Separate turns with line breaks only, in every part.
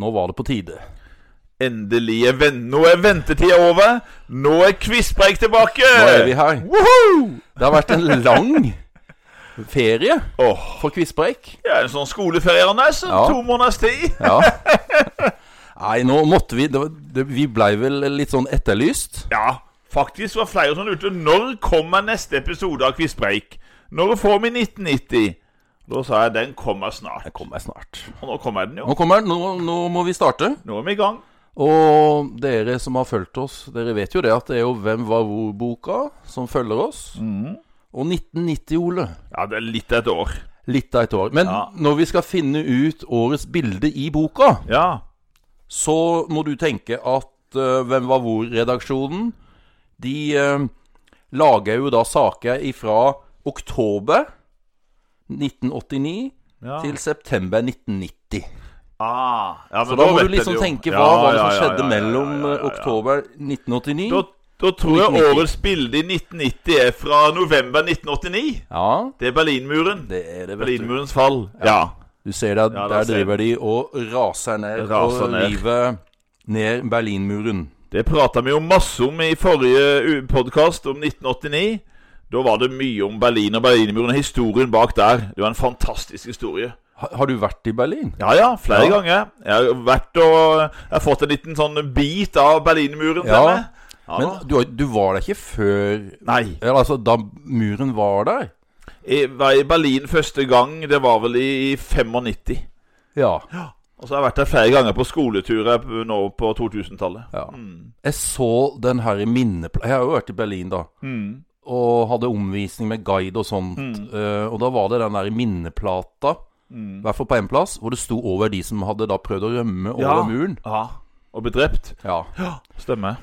Nå var det på tide.
Endelig er ven Nå er ventetida over. Nå er Quizpreik tilbake!
Nå er vi her.
Woohoo!
Det har vært en lang ferie
Åh,
for quizpreik.
ja, En sånn skoleferie, Anders.
Ja.
To måneders tid.
Ja. Nei, nå måtte vi det var, det, Vi blei vel litt sånn etterlyst.
Ja, faktisk var flere som lurte når kommer neste episode av Quizpreik. Når får vi 1990? Da sa jeg den kommer snart.
Den kommer snart.
Og nå kommer den jo.
Nå kommer den. Nå, nå må vi starte.
Nå er vi i gang.
Og dere som har fulgt oss, dere vet jo det at det er jo Hvem var hvor-boka som følger oss. Og 1990, Ole.
Ja, det er litt et år.
Litt av et år. Men
Ja.
når vi skal finne ut årets bilde i boka,
Ja.
så må du tenke at eh, Hvem var hvor-redaksjonen De eh, lager jo da saker ifra oktober 1989
ja.
til september 1990.
Ah, ja,
Så
men
da må
vet
du liksom
jeg jo.
tenke
Ja,
hva var det
ja,
som
ja,
skjedde
ja, ja,
mellom
ja, ja,
eh,
ja.
oktober 1989
Da, da tror jeg
1990.
årets bilde i 1990 er fra november 1989.
Ja,
Det er Berlinmuren.
det er det, vet du.
Berlinmurens fall. Ja.
Du ser der,
Ja, da
der
ser
driver de og raser ned
Raser
og
ned.
river ned Berlinmuren.
Det prata vi jo masse om i forrige podkast, om 1989. Da var det mye om Berlin og Berlinmuren og historien bak der. Det var en fantastisk historie.
Ha, har du vært i Berlin?
Ja, ja, flere
Ja.
ganger. Jeg har vært og Jeg har fått en liten sånn bit av Berlinmuren.
Ja,
til meg. Ja,
Men
da.
du, har- du var der ikke før
Nei.
Eller altså, da muren var der?
Jeg var i Berlin første gang, det var vel i 95.
Ja.
Og så har jeg vært der flere ganger på skoleturer p- nå på 2000-tallet.
ja.
Mm.
Jeg så den her i minnepla... Jeg har jo vært i Berlin, da. Og hadde omvisning med guide og sånt.
Mm.
eh, og da var det den der minneplata, i hvert fall på én plass, hvor det sto over de som hadde da prøvd å rømme over muren.
Ja. Og ble drept.
Ja.
Stemmer.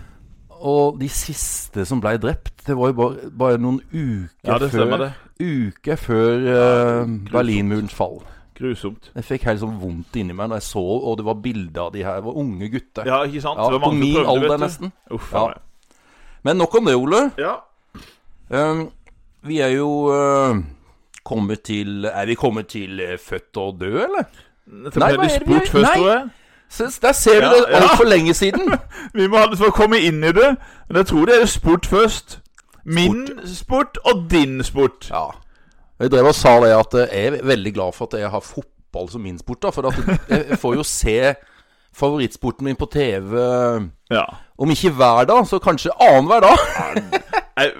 Og de siste som ble drept, det var jo bare, bare noen uker
Ja, det stemmer
før,
det.
uker før eh, Berlinmurens fall.
Grusomt.
Jeg fikk helt sånn vondt inni meg når jeg så, og det var bilder av de her, det var unge gutter.
Ja, ikke sant?
Ja,
det var
på
mange som
min
prøvde,
alder
vet du.
nesten.
Uff,
Ja.
ja.
Men nok om det, Ole.
ja.
Um, vi er jo eh, kommet til Er vi kommet til eh, født og død, eller?
Dette
Nei,
ble
hva er
litt
det vi
spurt
gjør?
først,
Nei.
tror jeg.
Se, der ser du
Ja,
det
ja.
altfor lenge siden!
Vi må ha litt for å komme inn i det. Men jeg tror det er spurt først. Min sport og din sport.
Ja. Jeg drev og sa det at eh, jeg er veldig glad for at jeg har fotball som min sport, da. For at jeg jeg får jo se favorittsporten min på TV
Ja.
om ikke hver dag, så kanskje annenhver dag.
Jeg,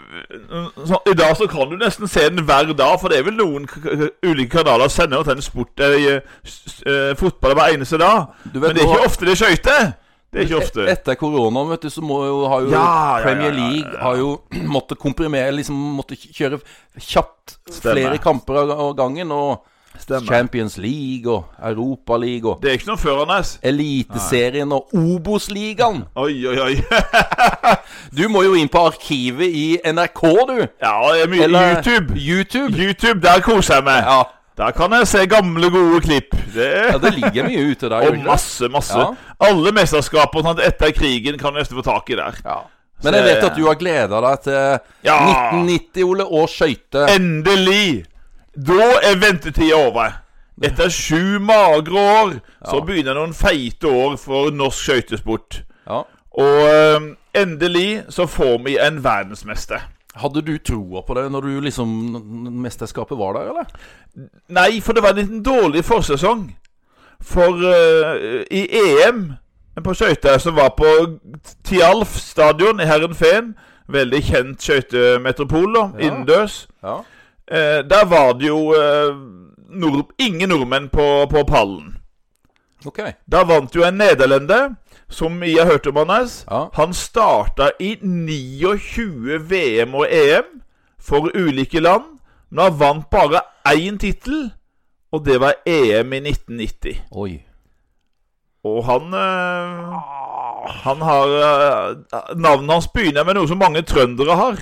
så, I dag så kan du nesten se den hver dag, for det er vel noen k k ulike kanaler som sender til en sport eh, s- s- eh, fotball hver eneste dag.
Du vet
Men det er
nå-
ikke ofte det er skøyter. Det er ikke ofte.
E-, Etter koronaen, vet du, så må jo, har jo
Ja, ja, ja,
Premier
ja, ja, ja.
League Har jo måttet komprimere Liksom måtte kjøre kjapt flere kamper av av gangen. Og
Stemmer.
Champions League og Europa League og
Det er ikke noe før, Anders.
Eliteserien og Obos-ligaen.
Oi, oi, oi.
Du må jo inn på arkivet i NRK, du.
Ja, det er mye YouTube.
YouTube.
YouTube, der koser jeg meg.
Ja.
Der kan jeg se gamle, gode klipp. Det
ja, det ligger mye ute der. gjør
Og
det ikke det?
masse, masse.
Ja.
Alle mesterskaper sånn, etter krigen kan du nesten få tak i der.
Ja. Men jeg vet at du har gleda deg til
Ja.
1990, Ole, og skøyter.
Endelig! Da er ventetida over. Etter sju magre år så begynner noen feite år for norsk skøytesport.
Ja.
Og eh, endelig så får vi en verdensmester.
Hadde du troa på det når du liksom n- n- mesterskapet var der, eller?
Nei, for det var en liten dårlig forsesong. For eh, i EM på skøyter som var på Tialf stadion i Herrenfeen, veldig kjent skøytemetropol, da,
Ja.
innendørs,
Ja.
eh, der var det jo eh, nord ingen nordmenn på, på pallen.
Ok.
Da vant jo en nederlender, som jeg har hørt om hans.
Ja.
Han starta i 29 VM og EM for ulike land, men han vant bare én tittel, og det var EM i 1990.
Oi.
Og han eh, Han har eh, Navnet hans begynner med noe som mange trøndere har.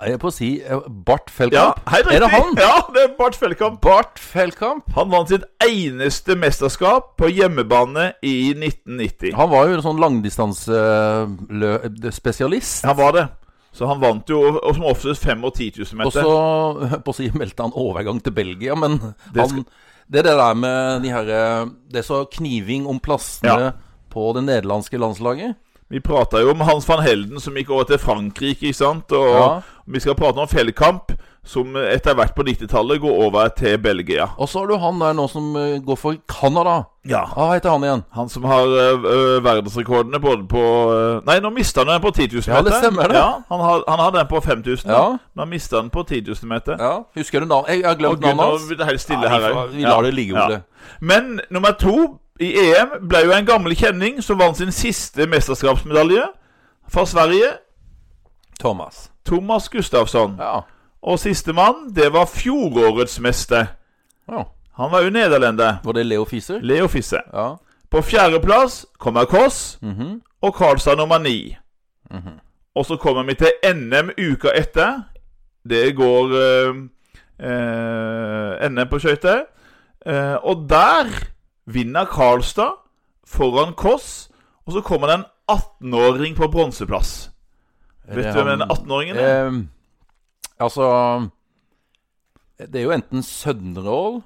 Jeg er på å si eh, Bart
Ja,
Feldkamp.
helt riktig.
er det han?
Ja, det er Bart Fjellkamp.
Bart Feldkamp.
Han vant sitt eneste mesterskap på hjemmebane i 1990.
Han var jo en sånn eh, langdistansespesialist.
Han var det. Så han vant jo og som oftest 5 og 10 000
Og
meter.
så eh, på å si, meldte han overgang til Belgia, men
Det
han Det er det der med de herre Det er så kniving om plassene
Ja.
på det nederlandske landslaget.
Vi prata jo om Hans van Helden som gikk over til Frankrike, ikke sant? Og
Ja.
vi skal prate om Fjellkamp, som etter hvert på 90-tallet går over til Belgia.
Og så har du han der nå som eh, går for Canada.
Ja.
Hva heter han igjen?
Han som har ø, ø, verdensrekordene både på ø, Nei, nå mista han den på 10 000 meter.
Ja, det stemmer det.
Ja, han, har, han hadde den på 5000,
Ja.
men han mista den på 10 000 meter.
ja. Husker du navnet? Jeg jeg har
Og
glemt
Gud,
navnet
nå
hans.
blir det helt stille
Ja,
her
vi
òg.
får- vi lar det ligge, Ole.
Men nummer to i EM ble jo en gammel kjenning som vant sin siste mesterskapsmedalje fra Sverige.
Thomas.
Thomas Gustafsson.
Ja.
Og sistemann, det var fjorårets mester.
ja.
Han var jo nederlender.
Var det Leo Fiser?
Leo Fisse.
Ja.
På fjerdeplass kommer Koss
Mhm.
og Karlstad nummer ni. Og så kommer vi til NM uka etter. Det går eh, eh, NM på skøyter. Eh, og der vinner Karlstad foran Koss. Og så kommer det en 18-åring på bronseplass.
Er
Vet
det
du hvem
han-
den 18-åringen er?
Eh, altså Det er jo enten Sønderål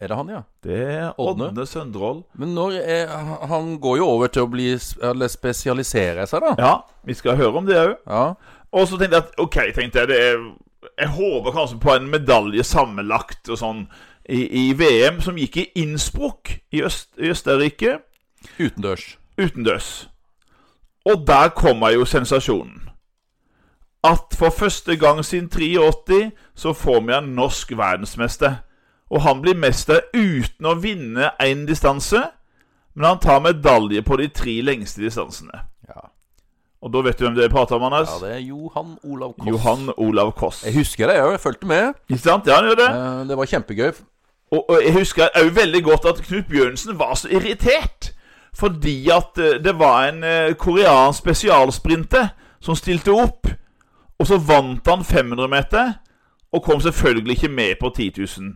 Er det han, ja?
det er
Ådne.
Ådne Søndrål.
Men når er, han går jo over til å bli s- Eller spesialisere seg, da.
Ja, vi skal høre om det òg.
Ja.
Og så tenkte jeg at OK, tenkte jeg det er, Jeg håper kanskje på en medalje sammenlagt og sånn i, i VM, som gikk i Innsbruck i, Øst, i Østerrike,
Utendørs.
utendørs. Og der kommer jo sensasjonen. At for første gang siden 83 så får vi en norsk verdensmester. Og han blir mester uten å vinne én distanse, men han tar medalje på de tre lengste distansene.
Ja.
Og da vet du hvem det er prater om, Anders?
ja, det er Johan Olav Koss.
Johan Olav Koss.
Jeg husker det, jeg òg. Fulgte med.
Ikke sant? Ja, han gjør det.
Eh, Det var kjempegøy.
Og, og jeg husker òg veldig godt at Knut Bjørnsen var så irritert. Fordi at eh, det var en eh, koreansk spesialsprinter som stilte opp. Og så vant han 500 meter, og kom selvfølgelig ikke med på 10 000.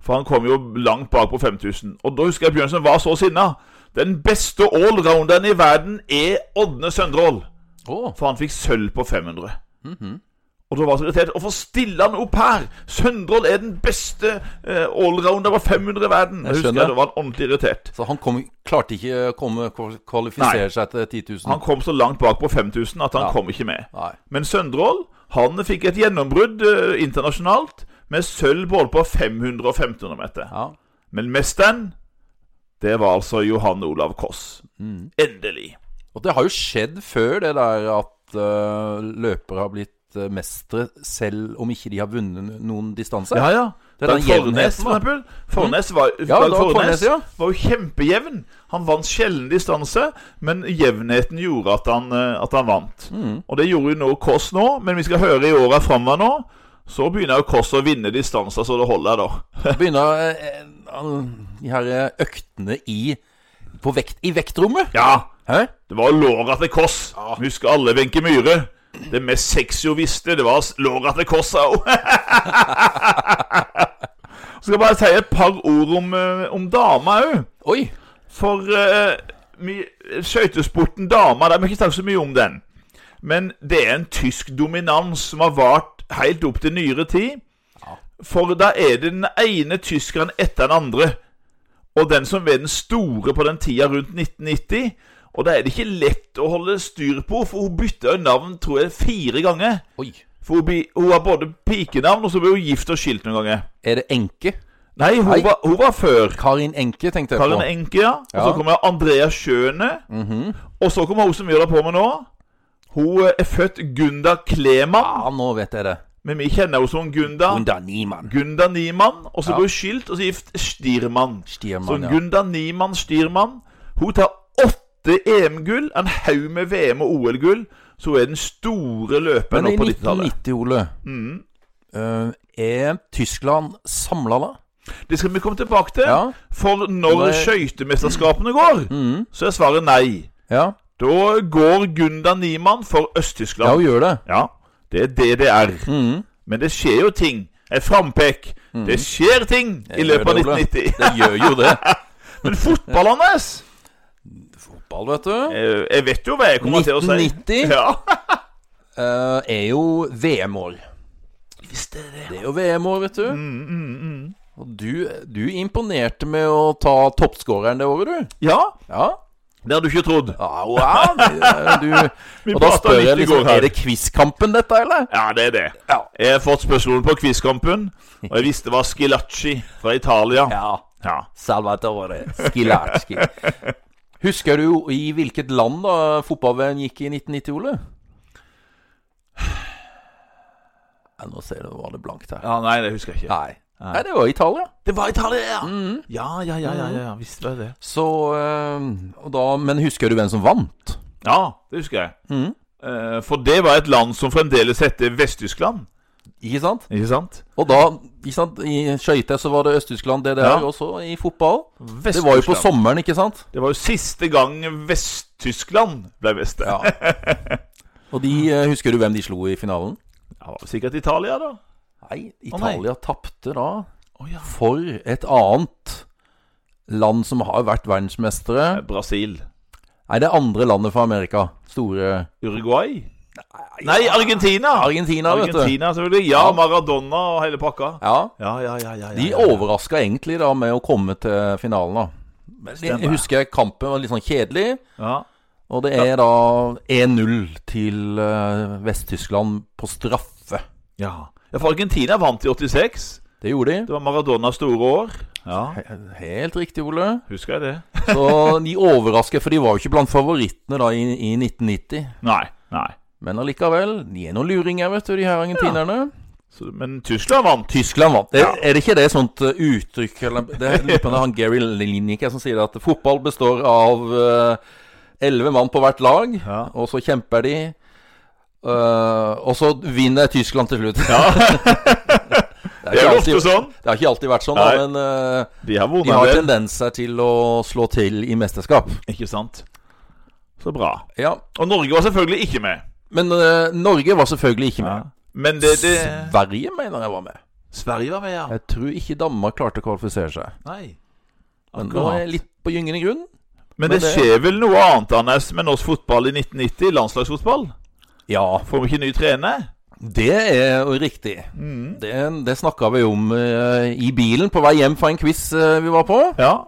For han kom jo langt bak på 5000. Og da husker jeg Bjørnsen var så sinna. Den beste allrounderen i verden er Ådne Søndrål.
Å,
For han fikk sølv på 500.
Mhm.
Og da var han så irritert. Hvorfor stiller han opp her? Søndrål er den beste eh, allrounder på 500 i verden. Jeg
Jeg
husker
skjønner.
jeg, da var han ordentlig irritert.
så han kom, klarte ikke å komme, kval- kvalifisere seg til 10 000?
Han kom så langt bak på 5000 at han
Ja.
kom ikke med.
Nei.
Men Søndrål han fikk et gjennombrudd eh, internasjonalt med sølv både på 500 og 1500 meter.
Ja.
Men mesteren, det var altså Johan Olav Koss.
Mm.
Endelig.
Og det har jo skjedd før, det der at eh, løpere har blitt eh, mestere selv om ikke de har vunnet noen distanse.
Ja, ja.
Det er
Dag
den
Fornes,
jevnheten,
for
da.
eksempel. Fornes var,
Ja,
Dag
Dag
Fornes,
Fornes, ja.
var jo kjempejevn. Han vant sjelden distanse, men jevnheten gjorde at han, eh, at han vant. Og det gjorde jo nå Kåss nå, men vi skal høre i åra framover nå. Så begynner jo Kåss å vinne distanser så det holder, da.
Begynner eh, eh, all- de her eh, øktene i, på vekt, i vektrommet.
Ja,
Hæ?
det var låra til Kåss. Vi Husker alle Wenche Myhre. Det mest sexy hun visste, det var s- låra til Kåss, sa hun. Skal bare si et par ord om, eh, om dama òg.
Oi!
For eh, mi- skøytesporten damer, det har vi ikke snakket så mye om den. Men det er en tysk dominans som har vart helt opp til nyere tid. For da er det den ene tyskeren etter den andre. Og den som er den store på den tida rundt 1990. Og da er det ikke lett å holde styr på, for hun bytta jo navn tror jeg, fire ganger.
Oi.
For hun, bi- hun har både pikenavn, og så ble hun gift og skilt noen ganger.
Er det Enke?
Nei, hun,
Nei.
Var, hun var før.
Karin Enke, tenkte jeg
Karin
på.
Enke, ja. Og så
Ja. Mhm.
kommer Andrea Schøne. Og så kommer hun som vi holder på med nå. Hun eh, er født Gunda Kleman,
Ja, nå vet jeg det.
men vi kjenner henne som Gunda.
Gunda Niemann.
Gunda Niemann. Og så
Ja.
ble hun skilt og så gift Stiermann. Så
Stiermann, ja.
Gunda Niemann Stiermann Hun tar åtte EM-gull, en haug med VM- og OL-gull. Så hun er den store løperen
Men i
nå på Mm. 90-tallet.
1990, Ole, eh, er Tyskland samla da?
Det skal vi komme tilbake til.
Ja.
For når
Nei.
skøytemesterskapene går,
Mhm.
så er svaret nei.
Ja,
Da går Gunda Niemann for Øst-Tyskland.
ja Mm. hun gjør det.
Ja, det er DDR. Men det skjer jo ting. Et frampek. Det skjer ting i
Mm. Jeg
løpet
gjør
av
det, Ole.
1990.
Det gjør jo det.
Men fotball, Anders
Fotball, vet du.
eh, Jeg vet jo hva jeg kommer til å si.
1990?
Ja.
eh, er jo VM-år.
Visst er det.
Mm, Det er jo VM-år, vet du. Og du, du imponerte med å ta toppskåreren det året, du.
Ja,
Ja.
det hadde du ikke trodd.
ja wow. det- eh, Du,
Vi
og da
pratet
spør
litt i
jeg liksom
går her.
Er det quizkampen, dette, eller?
Ja, det er det.
Ja.
Jeg har fått spørsmål på quizkampen, og jeg visste det var Skilacci fra Italia.
Ja.
Ja.
Salvatore Schilarski. Husker du i hvilket land da fotball-VM gikk i 1990, Ole? Ja, nå ser du var det blankt her.
ja, nei, det husker jeg ikke.
Nei. Nei, det var Italia.
Det var Italia, ja!
Mm.
Ja, ja, ja, ja, ja, visst var det det.
Så eh, og da, Men husker du hvem som vant?
Ja, det husker jeg. Eh, for det var et land som fremdeles heter Vest-Tyskland.
Ikke sant?
Ikke sant?
Og da, ikke sant, i skøyter så var det Øst-Tyskland, DDR
Ja.
også, i fotball. Det
Vest-Tyskland.
var jo på sommeren, ikke sant?
Det var jo siste gang Vest-Tyskland ble best.
Ja. Og de, eh, husker du hvem de slo i finalen?
Ja, det var sikkert Italia, da.
Nei,
nei.
Italia tapte da
Å ja.
for et annet land som har vært verdensmestere.
Eh, Brasil.
Nei, det andre landet fra Amerika. Store
Uruguay? Nei, Argentina!
Argentina, vet du.
Argentina, selvfølgelig. Ja,
Ja.
Maradona og hele pakka.
Ja,
Ja, ja, ja, ja, ja
De
ja.
overraska egentlig da med å komme til finalen, da. Men
Stemmer.
Jeg husker kampen var litt sånn kjedelig.
ja.
Og det er da 1-0 til eh, Vest-Tyskland på straffe.
ja. Ja, for Argentina vant i 86.
Det gjorde de.
Det var Maradonas store år. Ja,
He- Helt riktig, Ole.
husker jeg det?
Så de overrasker, for de var jo ikke blant favorittene da i, i 1990.
Nei. nei
Men allikevel, de er noen luringer, vet du, de her argentinerne.
Så, Men Tyskland vant.
Tyskland vant.
Ja.
Er, er det ikke det sånt eh, uttrykk eller, Det er litt på det er han Gary Lineker som sier det, at fotball består av eh, elleve mann på hvert lag,
Ja.
og så kjemper de. eh, og så vinner Tyskland til slutt. det, altså.
Det er
ikke
jo ofte
alltid,
sånn.
det har ikke alltid vært sånn,
Nei.
da, men eh,
De har
de
vunnet
har
en del.
tendenser til å slå til i mesterskap.
Ikke sant? Så bra.
Ja.
Og Norge var selvfølgelig ikke med.
Men eh, Norge var selvfølgelig ikke med.
Men det, det
Sverige mener jeg var med.
Sverige var med, ja.
Jeg tror ikke Danmark klarte å kvalifisere seg.
Nei.
Men nå er
Akkurat.
jeg litt på gyngende grunn.
Men
Men
det
det-
skjer vel noe annet Anders, med norsk fotball i 1990? Landslagsfotball?
Ja,
Får vi ikke ny trener? Mm.
Det er jo riktig. Det, det snakka vi om eh, i bilen på vei hjem fra en quiz eh, vi var på.
Ja.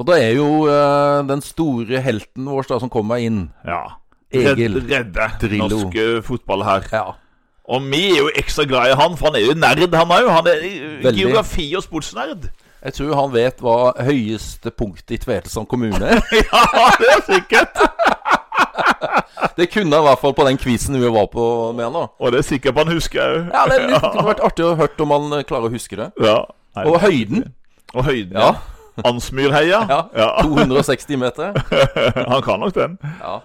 Og da er jo eh, den store helten vår da, som kommer inn,
ja.
Egil
Red- Redde
Drillo.
norsk eh, fotball her.
Ja,
Og vi er jo ekstra glad i han, for han er jo nerd, han òg. Han er eh,
Veldig.
geografi- og sportsnerd.
jeg tror han vet hva høyeste punkt i Tvedestrand kommune er.
ja, det er sikkert.
Det kunne han i hvert fall på den quizen vi var på med han da.
Og det er sikkert han husker òg.
Ja, det, er litt, det kunne vært artig å høre om han eh, klarer å huske det.
Ja. Nei,
Og høyden.
og høyden.
Ja,
Ansmyrheia.
ja. 260 meter.
Han kan nok den.
Ja.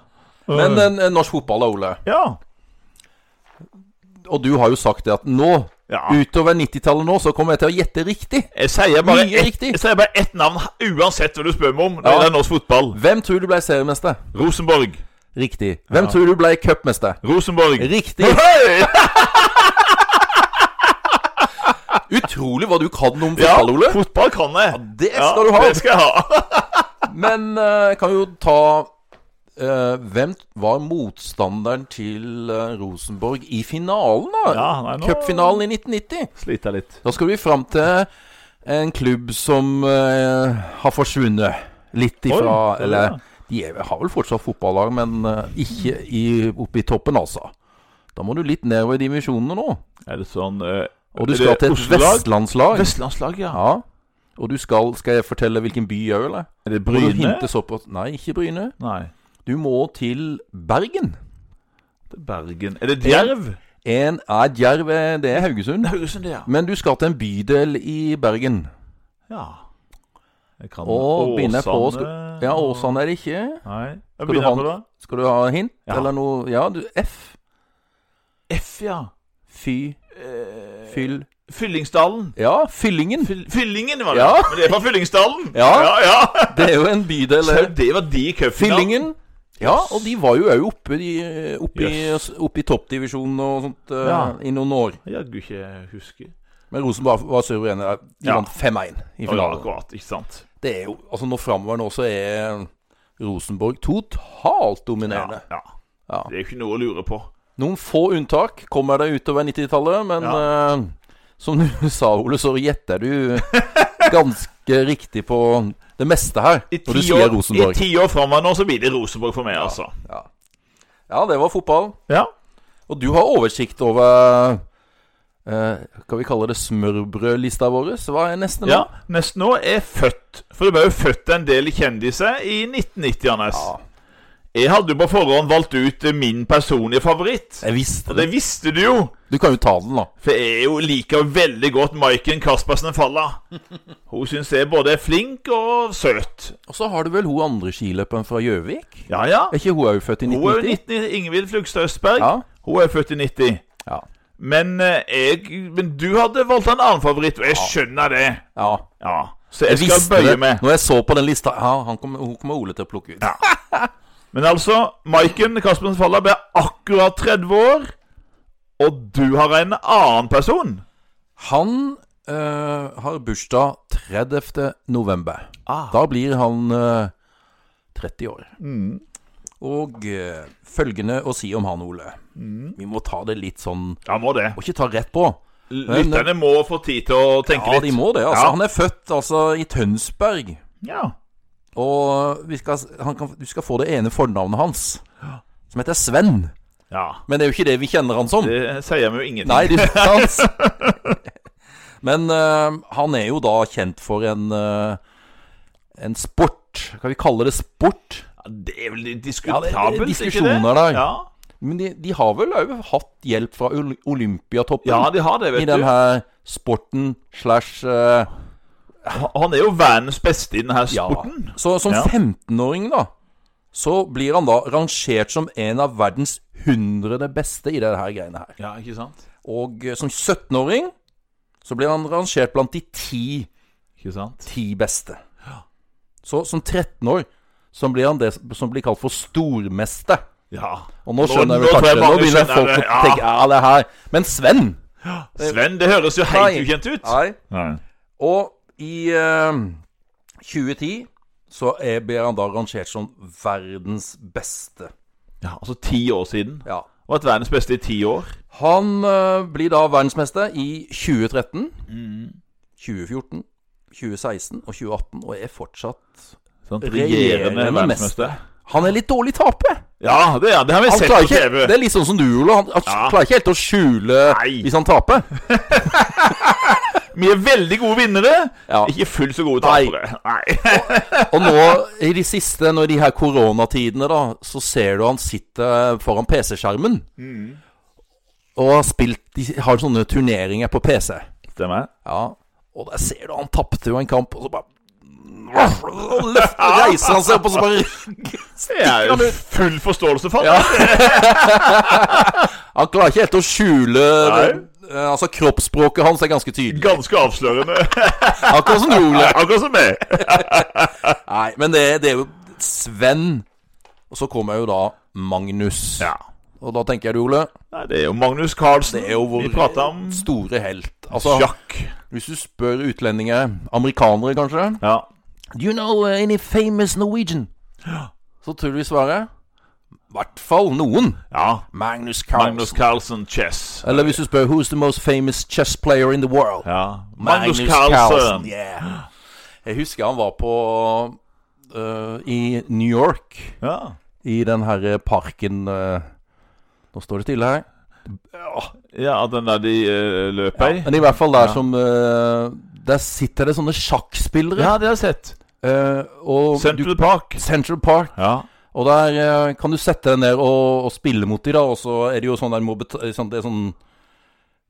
Men eh, norsk fotball, da, Ole.
Ja.
Og du har jo sagt det at nå,
ja.
utover 90-tallet nå, så kommer jeg til å gjette riktig.
Jeg sier bare,
Mye
ett,
riktig.
jeg sier bare ett navn uansett hva du spør meg om når
Ja.
det er norsk fotball.
Hvem tror du ble seriemester?
Rosenborg.
Riktig. Hvem tror du ble cupmester?
Rosenborg.
Riktig.
Hei!
Utrolig hva du kan om
Ja,
fotball, Ole.
fotball kan jeg.
det skal du ha.
Det skal jeg ha.
Men eh, jeg kan jo ta eh, Hvem var motstanderen til eh, Rosenborg i finalen, da?
Ja, nei, nå-
Cupfinalen i 1990.
Sliter litt.
Da skal vi fram til en klubb som eh, har forsvunnet litt ifra
Oi, det er
Eller
det.
de er, har vel fortsatt fotballag, men eh, ikke i, oppe i toppen, altså. Da må du litt nedover i divisjonene nå.
Er det sånn eh,
Og du
er
skal
det
til et
Oslo-lag?
vestlandslag.
Vestlandslag, ja.
Ja. Og du skal Skal jeg fortelle hvilken by òg, eller?
Er det
Må du
Bryne?
hinte såpass Nei, ikke Bryne.
Nei.
Du må til Bergen.
Det er Bergen. Er det Djerv?
En er Djerv, eh, det er Haugesund.
Haugesund, ja.
Men du skal til en bydel i Bergen.
Ja. Jeg kan
Og begynner på å sku-
Åsane.
Ja, Åsane er det ikke.
Nei. Jeg
Skal du
begynner
ha-
på det.
Skal du ha hint,
Ja.
eller noe Ja, du F.
F, ja.
Fy.
Eh,
Fyll.
Fyllingsdalen.
Ja, Fyllingen.
Fyll- Fyllingen, var det.
Ja.
Men det er fra Fyllingsdalen.
Ja.
ja, ja.
Det er jo en bydel.
Så
eh,
det var de i cupfinalen.
Fyllingen. Ja, og de var jo òg oppe, i- eh, oppe,
Jøss.
i- oppe i toppdivisjonen og sånt eh,
Ja.
i noen år.
Jaggu ikke jeg husker.
Men Rosenborg var suveren. eh, De
Ja.
vant 5-1 i
Ja,
finalen.
akkurat, ikke sant.
det er jo, altså Nå framover nå så er Rosenborg totalt
Ja,
dominerende.
ja.
Ja.
Det er ikke noe å lure på.
Noen få unntak kommer det utover 90-tallet, men eh, som du sa, Ole, så gjetter du ganske riktig på det meste her.
I
Når du
ti
sier
år, i
Rosenborg.
ti år framover nå så blir det Rosenborg for meg, altså.
Ja. ja, det var fotball.
Ja.
Og du har oversikt over eh, Kan vi kalle det smørbrødlista vår? Hva er neste nå?
ja. Nesten nå er født. For det ble jo født en del kjendiser i 1990, Anders.
Ja.
Jeg hadde jo på forhånd valgt ut eh, min personlige favoritt.
Jeg visste
Og
det.
det visste du jo.
Du kan jo ta den, da.
For jeg er jo liker veldig godt Maiken Caspersen Falla. Hun syns jeg både er flink og søt.
Og så har du vel hun andre skiløperen fra Gjøvik?
Ja, ja.
Er ikke hun òg født i
Hun er jo
1990?
19, Ingvild Flugstad Østberg.
Ja.
Hun er født i 90.
Ja.
Men, eh, jeg, men du hadde valgt en annen favoritt, og jeg skjønner det.
ja.
Ja, Så jeg, skal
visste
bøye
det.
meg.
Når jeg så på den lista Ja, han kommer- hun kommer Ole til å plukke ut.
Men altså, Maiken Caspersen Falla ble akkurat 30 år, og du har en annen person.
Han eh, har bursdag 30. november.
Ah.
Da blir han eh, 30 år.
Mm.
Og eh, følgende å si om han, Ole.
Mm.
Vi må ta det litt sånn
Ja, må det.
Må ikke ta rett på. Men- eh,
Lytterne må få tid til å tenke
Ja,
litt.
de må det. altså
Ja.
Han er født altså i Tønsberg.
Ja.
Og vi skal, han kan, du skal få det ene fornavnet hans, som heter Sven.
ja.
Men det er jo ikke det vi kjenner han som.
Det sier vi jo ingenting.
Nei, det er ikke sant. Men eh, han er jo da kjent for en eh, En sport. Kan vi kalle det sport?
Ja, Det er vel
Ja,
litt
det er
diskutabelt,
diskusjoner der.
Ja.
Men de, de har vel òg hatt hjelp fra Ol- Olympiatoppen
ja, de har det,
i
vet
den
du.
her sporten slash eh,
Han er jo verdens beste i denne
Ja.
sporten.
Så som
Ja.
15-åring, da, så blir han da rangert som en av verdens 100 beste i det her greiene her.
Ja, ikke sant?
Og eh, som 17-åring så blir han rangert blant de 10,
Ikke sant?
10 beste. Så som 13-år så blir han det som blir kalt for stormester.
Ja.
Og nå
Nå-
skjønner
nå
jeg vel
tror jeg
kanskje Nå
mange
begynner
skjønner
folk å
det, ja.
tenke Ja, det her Men Sven
Sven, det høres jo helt
Nei.
ukjent ut.
Nei.
Nei.
Og i eh, 2010 så er, blir han da rangert som verdens beste.
Ja, altså ti år siden.
Ja.
Og at verdens beste i ti år.
Han eh, blir da verdensmester i 2013,
Mm.
2014, 2016 og 2018, og er fortsatt
Sant?
Regjerende
Regjerende verdensmester.
Han er litt dårlig taper!
Ja, det, er- det har vi
Han
sett
klarer
på
ikke,
TV.
det er litt sånn som du, Ole. Han, han
Ja.
klarer ikke helt å skjule
Nei.
hvis han taper.
Vi er veldig gode vinnere.
Ja.
Ikke fullt så gode
Nei.
tapere. Nei.
Og nå i de siste, når de her koronatidene, da, så ser du han sitter foran PC-skjermen.
Mm.
Og har spilt De har sånne turneringer på PC.
Stemmer.
Ja. Og der ser du han tapte jo en kamp, og så bare Løft, reiser han seg opp, og så bare
Det er
han
jo
ut.
full forståelse for.
Han klarer ikke helt å skjule
Nei.
eh, Altså Kroppsspråket hans er ganske tydelig.
Ganske avslørende.
Akkurat som du, Ole.
Akkurat som meg.
Nei, men det, det er jo Sven. Og så kommer jo da Magnus.
Ja.
Og da tenker jeg du, Ole.
Nei, det er jo Magnus Carlsen.
Det er jo vår
Vi prata om
store helt. Altså,
sjakk.
hvis du spør utlendinger, amerikanere kanskje
Ja.
Do you know uh, any famous Norwegian? Så tror du de svarer I hvert fall noen.
ja.
Magnus
Magnus
Carlsen.
Carlsen Chess.
Eller hvis du spør Who's the most famous chess player in the world?
Ja. Magnus Carlsen.
yeah. Jeg husker han var på øh, i New York,
Ja.
i den herre parken øh, Nå står det stille her.
ja, den der de eh, løper i.
Men i hvert fall der som øh, Der sitter det sånne sjakkspillere.
det har jeg sett.
Eh, og du,
Central Park.
Central Park.
Ja.
Og der eh, kan du sette deg ned og, og spille mot de da. Og så er det jo sånn der må beta sånn, det er sånn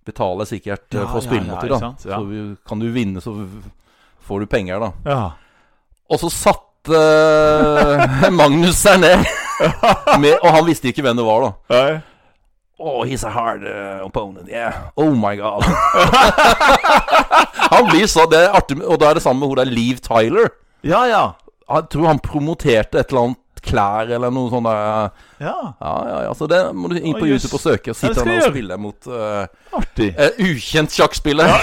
Betale sikkert eh,
Ja,
for å
ja,
spille
ja,
mot de
ikke
da.
sant, ja.
Så vi, kan du vinne, så v- får du penger, da.
ja.
Og så satte eh, Magnus seg ned. Med, og han visste ikke hvem det var, da.
Nei.
Oh, he's a hard
eh,
uh, opponent. Yeah. Oh my god. han blir så Det er artig, med- og da er det sammen med hun der Liv Tyler.
Ja, ja.
Jeg tror han promoterte et eller annet klær eller noe sånt. Der. eh,
Ja.
Ja, ja, ja. Så det må du inn på
Å, jøss.
YouTube og søke. Og
Ja, det
sitte
skal
han og
jeg gjøre.
spille mot eh,
Artig.
eh, ukjent sjakkspiller.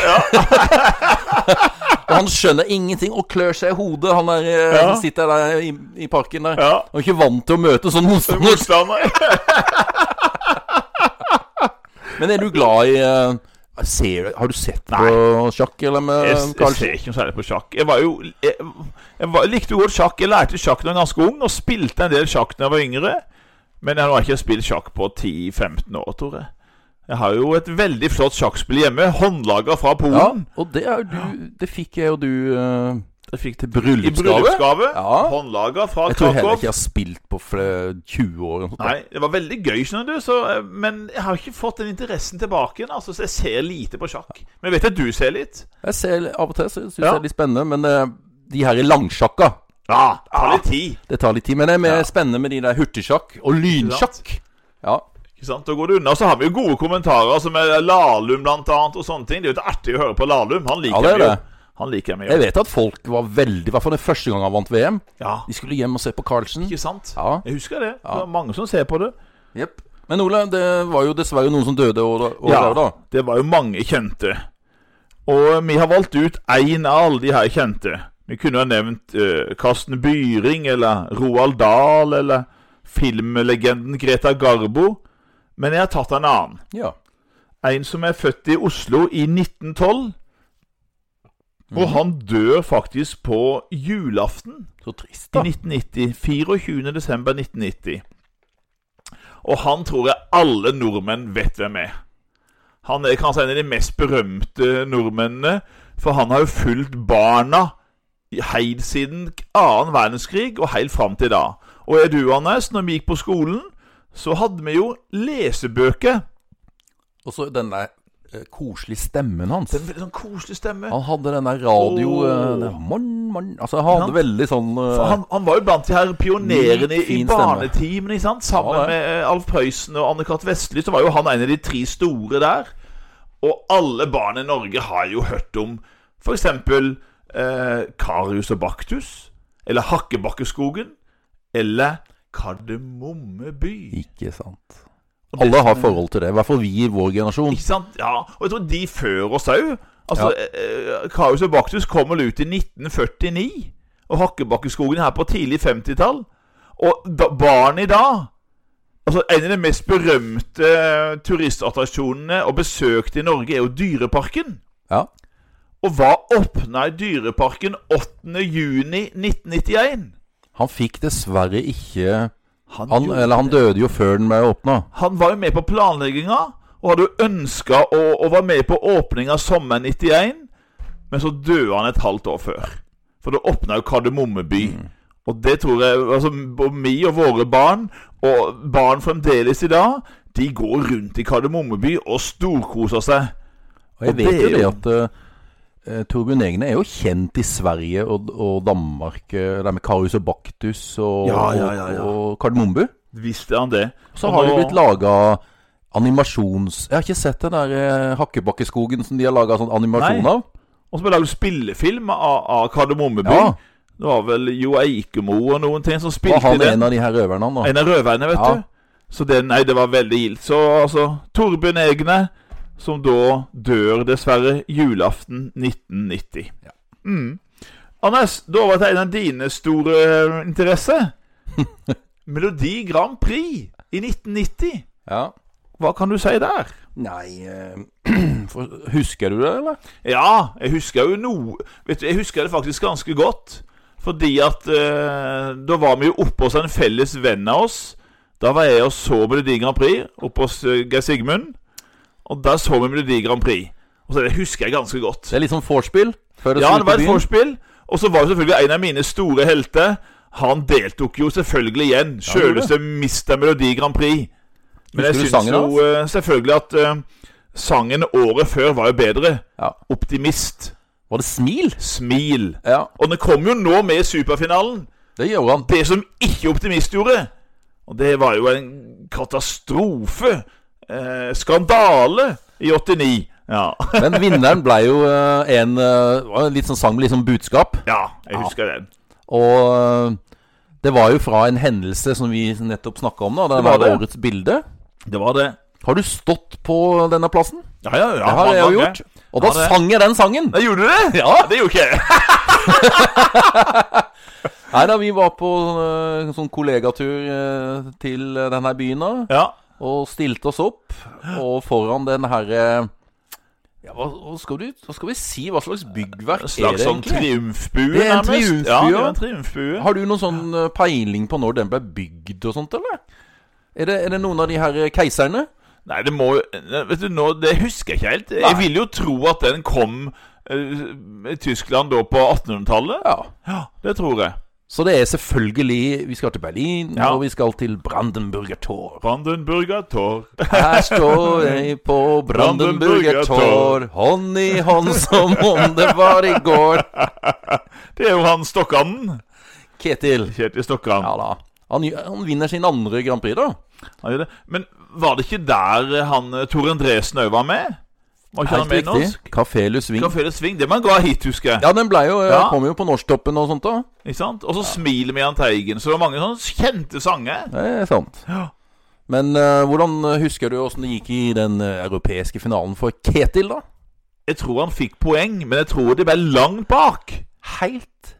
og han skjønner ingenting og klør seg i hodet. Han der, eh,
Ja.
sitter der i, i parken der.
Ja.
Han er ikke vant til å møte sånn motstander.
Motstander.
Men er du glad i eh, Ser, har du sett på
Nei.
sjakk, eller med
Jeg, s- jeg
Carlsen?
ser ikke noe særlig på sjakk. Jeg var jo Jeg, jeg var, likte jo godt sjakk. Jeg lærte sjakk da jeg var ganske ung, og spilte en del sjakk da jeg var yngre. Men jeg har ikke spilt sjakk på 10-15 år, tror jeg. Jeg har jo et veldig flott sjakkspill hjemme, håndlaga fra
Ja,
Polen.
og det er jo du Det fikk jeg og du eh,
Jeg fikk
til
I
bryllupsgave.
bryllupsgave.
Ja.
Håndlaga fra
Jeg tror heller
Krakow.
ikke jeg har spilt på flere 20 år. eller noe sånt.
Nei, det var veldig gøy, skjønner du, så, eh, men jeg har ikke fått den interessen tilbake igjen. Altså, så jeg ser lite på sjakk. Men jeg vet at du ser litt.
Jeg ser Av og til syns jeg
Ja.
det er litt spennende, men eh, de her i langsjakka
Ja, ta litt tid.
Det tar litt tid. Men det er mer
Ja.
spennende med de der hurtigsjakk og lynsjakk. Ja.
Ikke sant? Da går det unna. Så har vi jo gode kommentarer, som er Lahlum blant annet, og sånne ting. Det er jo litt artig å høre på Lahlum. Han
Ja,
liker
det er
vi jo.
det.
Han liker vi jo.
Jeg vet at folk var veldig I hvert fall den første gang han vant VM.
Ja,
De skulle hjem og se på Carlsen.
ikke sant?
Ja.
Jeg husker det. Det var mange som ser på det.
Jep. Men Ole, det var jo dessverre noen som døde året år
Ja.
der, da.
Det var jo mange kjente. Og eh, vi har valgt ut én av alle de her kjente. Vi kunne ha nevnt eh, Karsten Byring eller Roald Dahl eller filmlegenden Greta Garbo. Men jeg har tatt en annen.
Ja.
En som er født i Oslo i 1912. Og han dør faktisk på julaften
Så trist,
i
da.
1990. 24. desember 1990. Og han tror jeg alle nordmenn vet hvem er. Han er kanskje en av de mest berømte nordmennene, for han har jo fulgt barna i- helt siden annen verdenskrig og helt fram til da. Og er du, Anders, når vi gikk på skolen, så hadde vi jo lesebøker.
Og så den der eh, koselige stemmen hans.
Den veldig sånn koselig stemme.
Han hadde den der radio
Åh.
eh, det, morn, morn. Altså, han hadde
Sant?
veldig sånn eh,
For han, han var jo blant de her pionerene i, i
Fin stemme.
barnetimen. ikke sant? Sammen
Ja, det.
med eh, Alf Prøysen og Anne-Cath. Vestli så var jo han en av de tre store der. Og alle barn i Norge har jo hørt om f.eks. Eh, Karius og Baktus. Eller Hakkebakkeskogen. Eller Kardemomme by.
Ikke sant.
Og det-
Alle har forhold til det. I hvert fall vi i vår generasjon.
Ikke sant? Ja, og jeg tror de før oss òg. Altså, eh, Karius og Baktus kom vel ut i 1949, og Hakkebakkeskogen her på tidlig 50-tall. Og da, barn i dag Altså, En av de mest berømte eh, turistattraksjonene og besøkte i Norge er jo Dyreparken.
Ja.
Og hva åpna i Dyreparken 8.6.1991?
Han fikk dessverre ikke
Han,
han,
gjorde-
Eller han døde jo før den ble åpna.
Han var jo med på planlegginga, og hadde jo ønska å, å være med på åpninga sommeren 91, men så døde han et halvt år før. For det åpna jo Kardemomme by.
Mm.
Og det tror jeg altså, og Vi og våre barn, og barn fremdeles i dag, de går rundt i Kardemomme by og storkoser seg.
Og jeg
Og
vet
det
jo
er
det
jo-
at eh, Torbjørn Egne er jo kjent i Sverige og, og Danmark. eh, Det med Karius og Baktus og,
Ja, ja, ja, ja.
og Kardemommeby.
Visste han det?
Så
Og
har
nå-
det blitt laga animasjons... Jeg har ikke sett den der eh, Hakkebakkeskogen som de har laga sånn animasjon
Nei.
av.
Og så ble det laget spillefilm av, av Kardemomme by.
Ja.
Det var vel Jo Eikemo og noen ting som
Og
spilte i
han er
den.
en av de her røverne, han da.
En av røverne, vet
Ja.
du. Så det, nei, det var veldig gildt. Så altså Torbjørn Egne, som da dør dessverre julaften 1990.
Ja.
Mm. Anders, da var det en av dine store eh, interesser. Melodi Grand Prix i 1990.
Ja.
Hva kan du si der?
Nei eh, for, Husker du det, eller?
Ja, jeg husker jo noe Vet du, jeg husker det faktisk ganske godt. Fordi at eh, da var vi jo oppe hos en felles venn av oss. Da var jeg og så Melodi Grand Prix oppe hos eh, Geir Sigmund. Og der så vi Melodi Grand Prix. Og så det husker jeg ganske godt.
Det er litt sånn vorspiel? Før skal
Ja, det
ut på
var et
byen.
vorspiel. Og så var jo selvfølgelig en av mine store helter. Han deltok jo selvfølgelig igjen.
han gjorde det.
Sjøleste Mr. Melodi Grand Prix. Men
Husker
jeg
du
syns
sangen
jo
hans?
eh, selvfølgelig at eh, sangen året før var jo bedre.
Ja.
Optimist.
Var det smil?
Smil.
Ja,
Og den kom jo nå med i superfinalen.
det gjorde han.
Det som ikke Optimist gjorde, og det var jo en katastrofe, eh, skandale, i 89. Ja,
Men vinneren ble jo eh, en eh, var en litt sånn sang med litt sånn budskap.
ja jeg husker den.
Og eh, det var jo fra en hendelse som vi nettopp snakka om, da. Det
Det var
var
det.
årets bilde.
Det var det.
Har du stått på denne plassen?
Ja, ja, ja.
Det har jeg jo
mange.
gjort. Og da
Ja, det.
sang jeg den sangen.
Nei, gjorde du det? Ja, det gjorde ikke jeg.
Nei da, vi var på eh, sånn kollegatur eh, til eh, denne byen da.
Ja,
Og stilte oss opp. Og foran den herre eh, Ja, hva, hva, skal du, hva skal vi si? Hva slags byggverk
En
er
slags
det
sånn
egentlig?
triumfbue,
Det er en
nærmest.
triumfbue,
ja, det
ja.
er en triumfbue.
Har du noen sånn eh, peiling på når den ble bygd og sånt, eller? Er det, er det noen av de her eh, keiserne?
Nei, det må jo Vet du, nå, det husker jeg ikke helt. Jeg
Nei.
vil jo tro at den kom eh, i Tyskland da på 1800-tallet.
Ja.
Ja, det tror jeg.
Så det er selvfølgelig Vi skal til Berlin,
Ja.
og vi skal til Brandenburger Tor.
Brandenburger Tor.
Her står jeg på Brandenburger
Brandenburger Tor.
Tor, hånd i hånd som om det var i går.
Det er jo han Stokkanen.
Ketil.
Kjetil Stokkan.
Ja da. Han, han vinner sin andre Grand Prix, da.
Han gjør det. Men var det ikke der han eh, Tor Endresen òg var med? Var ikke han med i norsk?
Kafé Lusvin.
Café de Sving, det man ga hit, husker jeg.
Ja, den ble jo, eh,
Ja.
kom jo på Norsktoppen og sånt, da.
Ikke sant? Og så Smil med Jahn Teigen. Så det var mange sånne kjente sanger.
Det er sant.
Ja.
Men eh, hvordan husker du åssen det gikk i den eh, europeiske finalen for Ketil, da?
Jeg tror han fikk poeng, men jeg tror de ble langt bak.
Helt,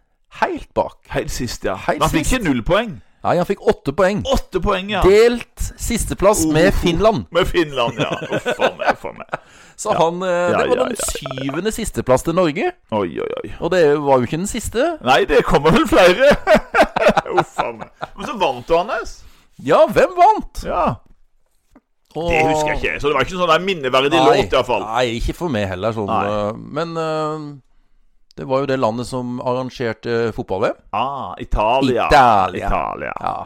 helt bak.
Helt sist, ja.
Helt
men han fikk
sist.
ikke null poeng.
Nei, han fikk åtte poeng.
Åtte poeng, ja. Oh.
Delt sisteplass med Finland.
Med Finland, ja. Uff a meg, uff a meg.
Så han eh, Det var
ja,
den
ja,
syvende sisteplass til Norge.
Oi, oi, oi.
Og det var jo ikke den siste.
Nei, det kommer vel flere. Uff a meg. Men så vant du, Anders.
Ja, hvem vant?
Ja. Det husker jeg ikke. Så det var ikke sånn der minneverdig
Nei,
låt, iallfall.
Nei, ikke for meg heller. Sånn,
Nei.
eh, men eh, det var jo det landet som arrangerte fotball-VM.
Ah, Italia.
Italia.
Italia.
Ja.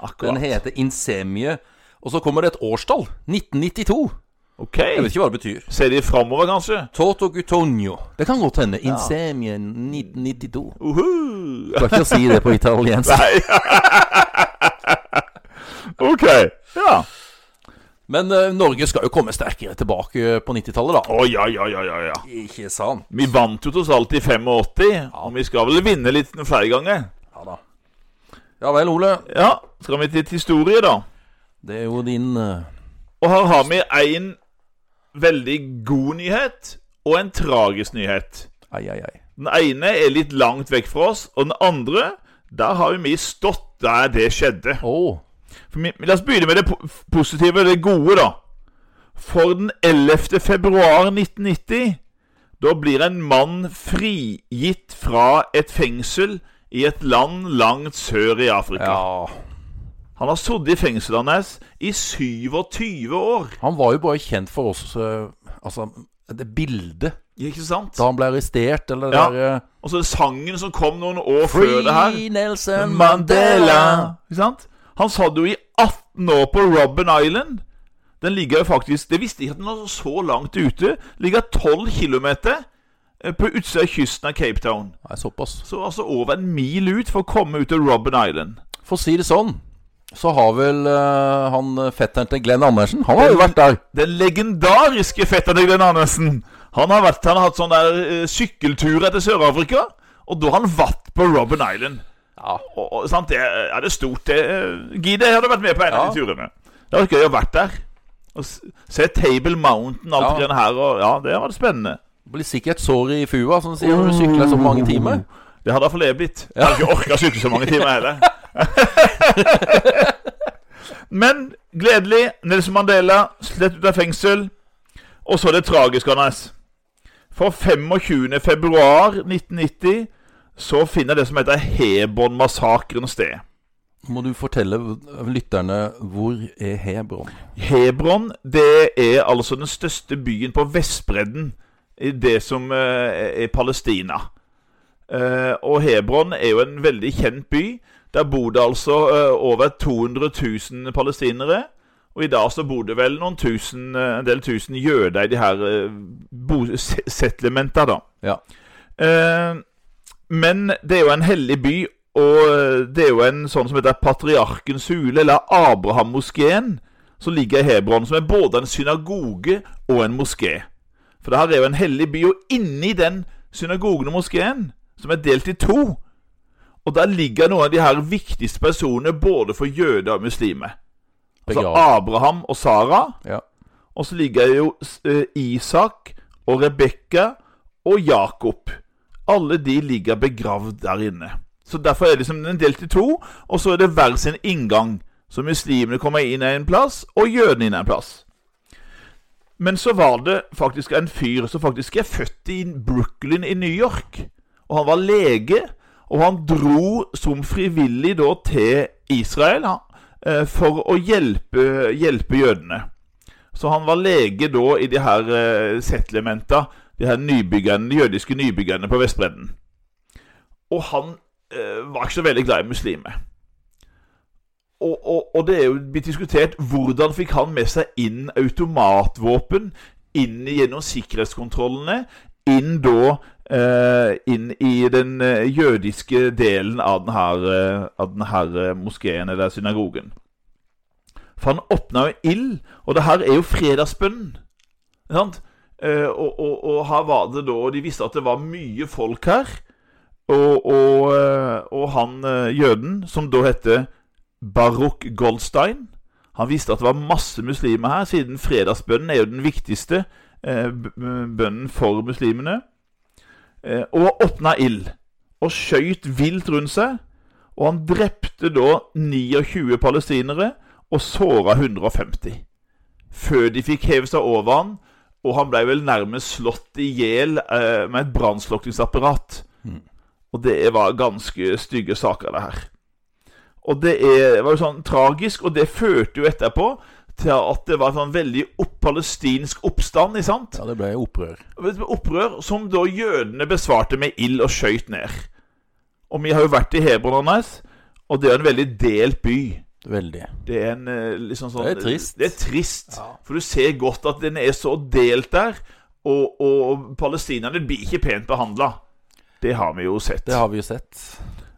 Den
Akkurat.
heter Insemie. Og så kommer det et årstall. 1992.
Ok.
Jeg vet ikke hva det betyr.
Ser de framover, kanskje?
Toto Gutonio. Det kan godt hende. Insemie 1992.
Uhu.
Skal ikke si det på italiensk.
Nei. ok. Ja.
Men eh, Norge skal jo komme sterkere tilbake på 90-tallet, da.
Å, ja, ja, ja, ja, ja.
Ikke sant?
Vi vant jo tross alt i 85, og vi skal vel vinne litt flere ganger.
Ja da. Ja vel, Ole.
Ja, skal vi til et historie, da?
Det er jo din eh,
Og her har vi en veldig god nyhet og en tragisk nyhet.
Ai, ai, ai.
Den ene er litt langt vekk fra oss, og den andre der har jo vi stått der det skjedde.
Å.
For vi, la oss begynne med det po- positive, det gode, da. For den 11. februar 1990, da blir en mann frigitt fra et fengsel i et land langt sør i Afrika.
Ja.
Han har sittet i fengselet hans i 27 år.
Han var jo bare kjent for oss eh, Altså, det bildet
Ikke sant?
da han ble arrestert, eller det
Ja.
der, eh,
Og så sangen som kom noen år før det her.
Free Nelson Mandela.
Ikke sant? Han satt jo i 18 år på Robben Island. Den ligger jo faktisk Det visste jeg ikke at den var så langt ute. Ligger 12 km på utsida av kysten av Cape Town.
Nei, såpass.
Så altså over en mil ut for å komme ut til Robben Island.
For å si det sånn, så har vel eh, han eh, fetteren til Glenn Andersen Han har jo vært der.
Den legendariske fetteren Glenn Andersen. Han har, vært, han har hatt sånn der eh, sykkeltur etter Sør-Afrika. Og da har han vært på Robben Island.
Ja.
Og, og, sant? Det er er det stort. Det, eh, Gide hadde vært med på en av de turene. Det hadde vært gøy å vært der. Og s- se Table Mountain alt
Ja.
det greiene her. Og, ja, det hadde vært spennende.
Blir sikkert sår i fua, som de sier når du sykler så mange timer.
Det hadde iallfall jeg blitt. Jeg hadde ikke orka å sykle så mange timer heller. Men gledelig. Nelson Mandela slett ut av fengsel. Og så det tragiske hans. For 25. februar 1990 så finner det som heter Hebron-massakren sted.
Må du fortelle v- eh, lytterne hvor er Hebron?
Hebron det er altså den største byen på Vestbredden i det som eh, er Palestina. Eh, og Hebron er jo en veldig kjent by. Der bor det altså eh, over 200 000 palestinere. Og i dag så bor det vel noen tusen, eh, en del tusen jøder i de her eh, bo- se- settlementa, da.
Ja.
Eh, men det er jo en hellig by, og eh, det er jo en sånn som heter Patriarkens hule, eller Abraham-moskeen, som ligger i Hebron, som er både en synagoge og en moské. For det her er jo en hellig by, og inni den synagogen og moskeen, som er delt i to, og der ligger noen av de her viktigste personene både for jøder og muslimer. Altså
Begravet.
Abraham og Sara.
Ja.
Og så ligger jo eh, Isak og Rebekka og Jakob. Alle de ligger begravd der inne. Så derfor er det liksom den delt i to, og så er det hver sin inngang. Så muslimene kommer inn en plass, og jødene inn en plass. Men så var det faktisk en fyr som faktisk er født i Brooklyn i New York. Og han var lege, og han dro som frivillig da til Israel han, eh, for å hjelpe, hjelpe jødene. Så han var lege da i de her eh, settlementa, de her nybyggerne, jødiske nybyggerne på Vestbredden. Og han eh, var ikke så veldig glad i muslimer. Og, og, og det er jo blitt diskutert hvordan fikk han med seg inn automatvåpen inn gjennom sikkerhetskontrollene, inn da eh, inn i den eh, jødiske delen av den her, eh, av den her eh, moskeen eller synagogen. For han åpna jo ild, og det her er jo fredagsbønnen. Ikke sant? Eh, og, og, og her var det da De visste at det var mye folk her. Og, og, eh, og han eh, jøden, som da heter Baruch Goldstein Han visste at det var masse muslimer her, siden fredagsbønnen er jo den viktigste eh, b- bønnen for muslimene. Eh, og åpna ild. Og skøyt vilt rundt seg. Og han drepte da 29 palestinere og såra 150. Før de fikk heve seg over han, og han ble vel nærmest slått i hjel eh, med et brannslukningsapparat.
Mm.
Og det var ganske stygge saker, det her. Og det er, var jo sånn tragisk, og det førte jo etterpå til at det var en sånn veldig opp palestinsk oppstand, ikke sant?
Ja, det ble opprør.
Et opprør som da jødene besvarte med ild og skøyt ned. Og vi har jo vært i Hebron, Anders, og det er en veldig delt by.
Veldig.
Det er en eh, liksom sånn
Det er trist.
Det er trist.
Ja.
For du ser godt at den er så delt der, og, og palestinerne blir ikke pent behandla. Det har vi jo sett.
Det har vi jo sett.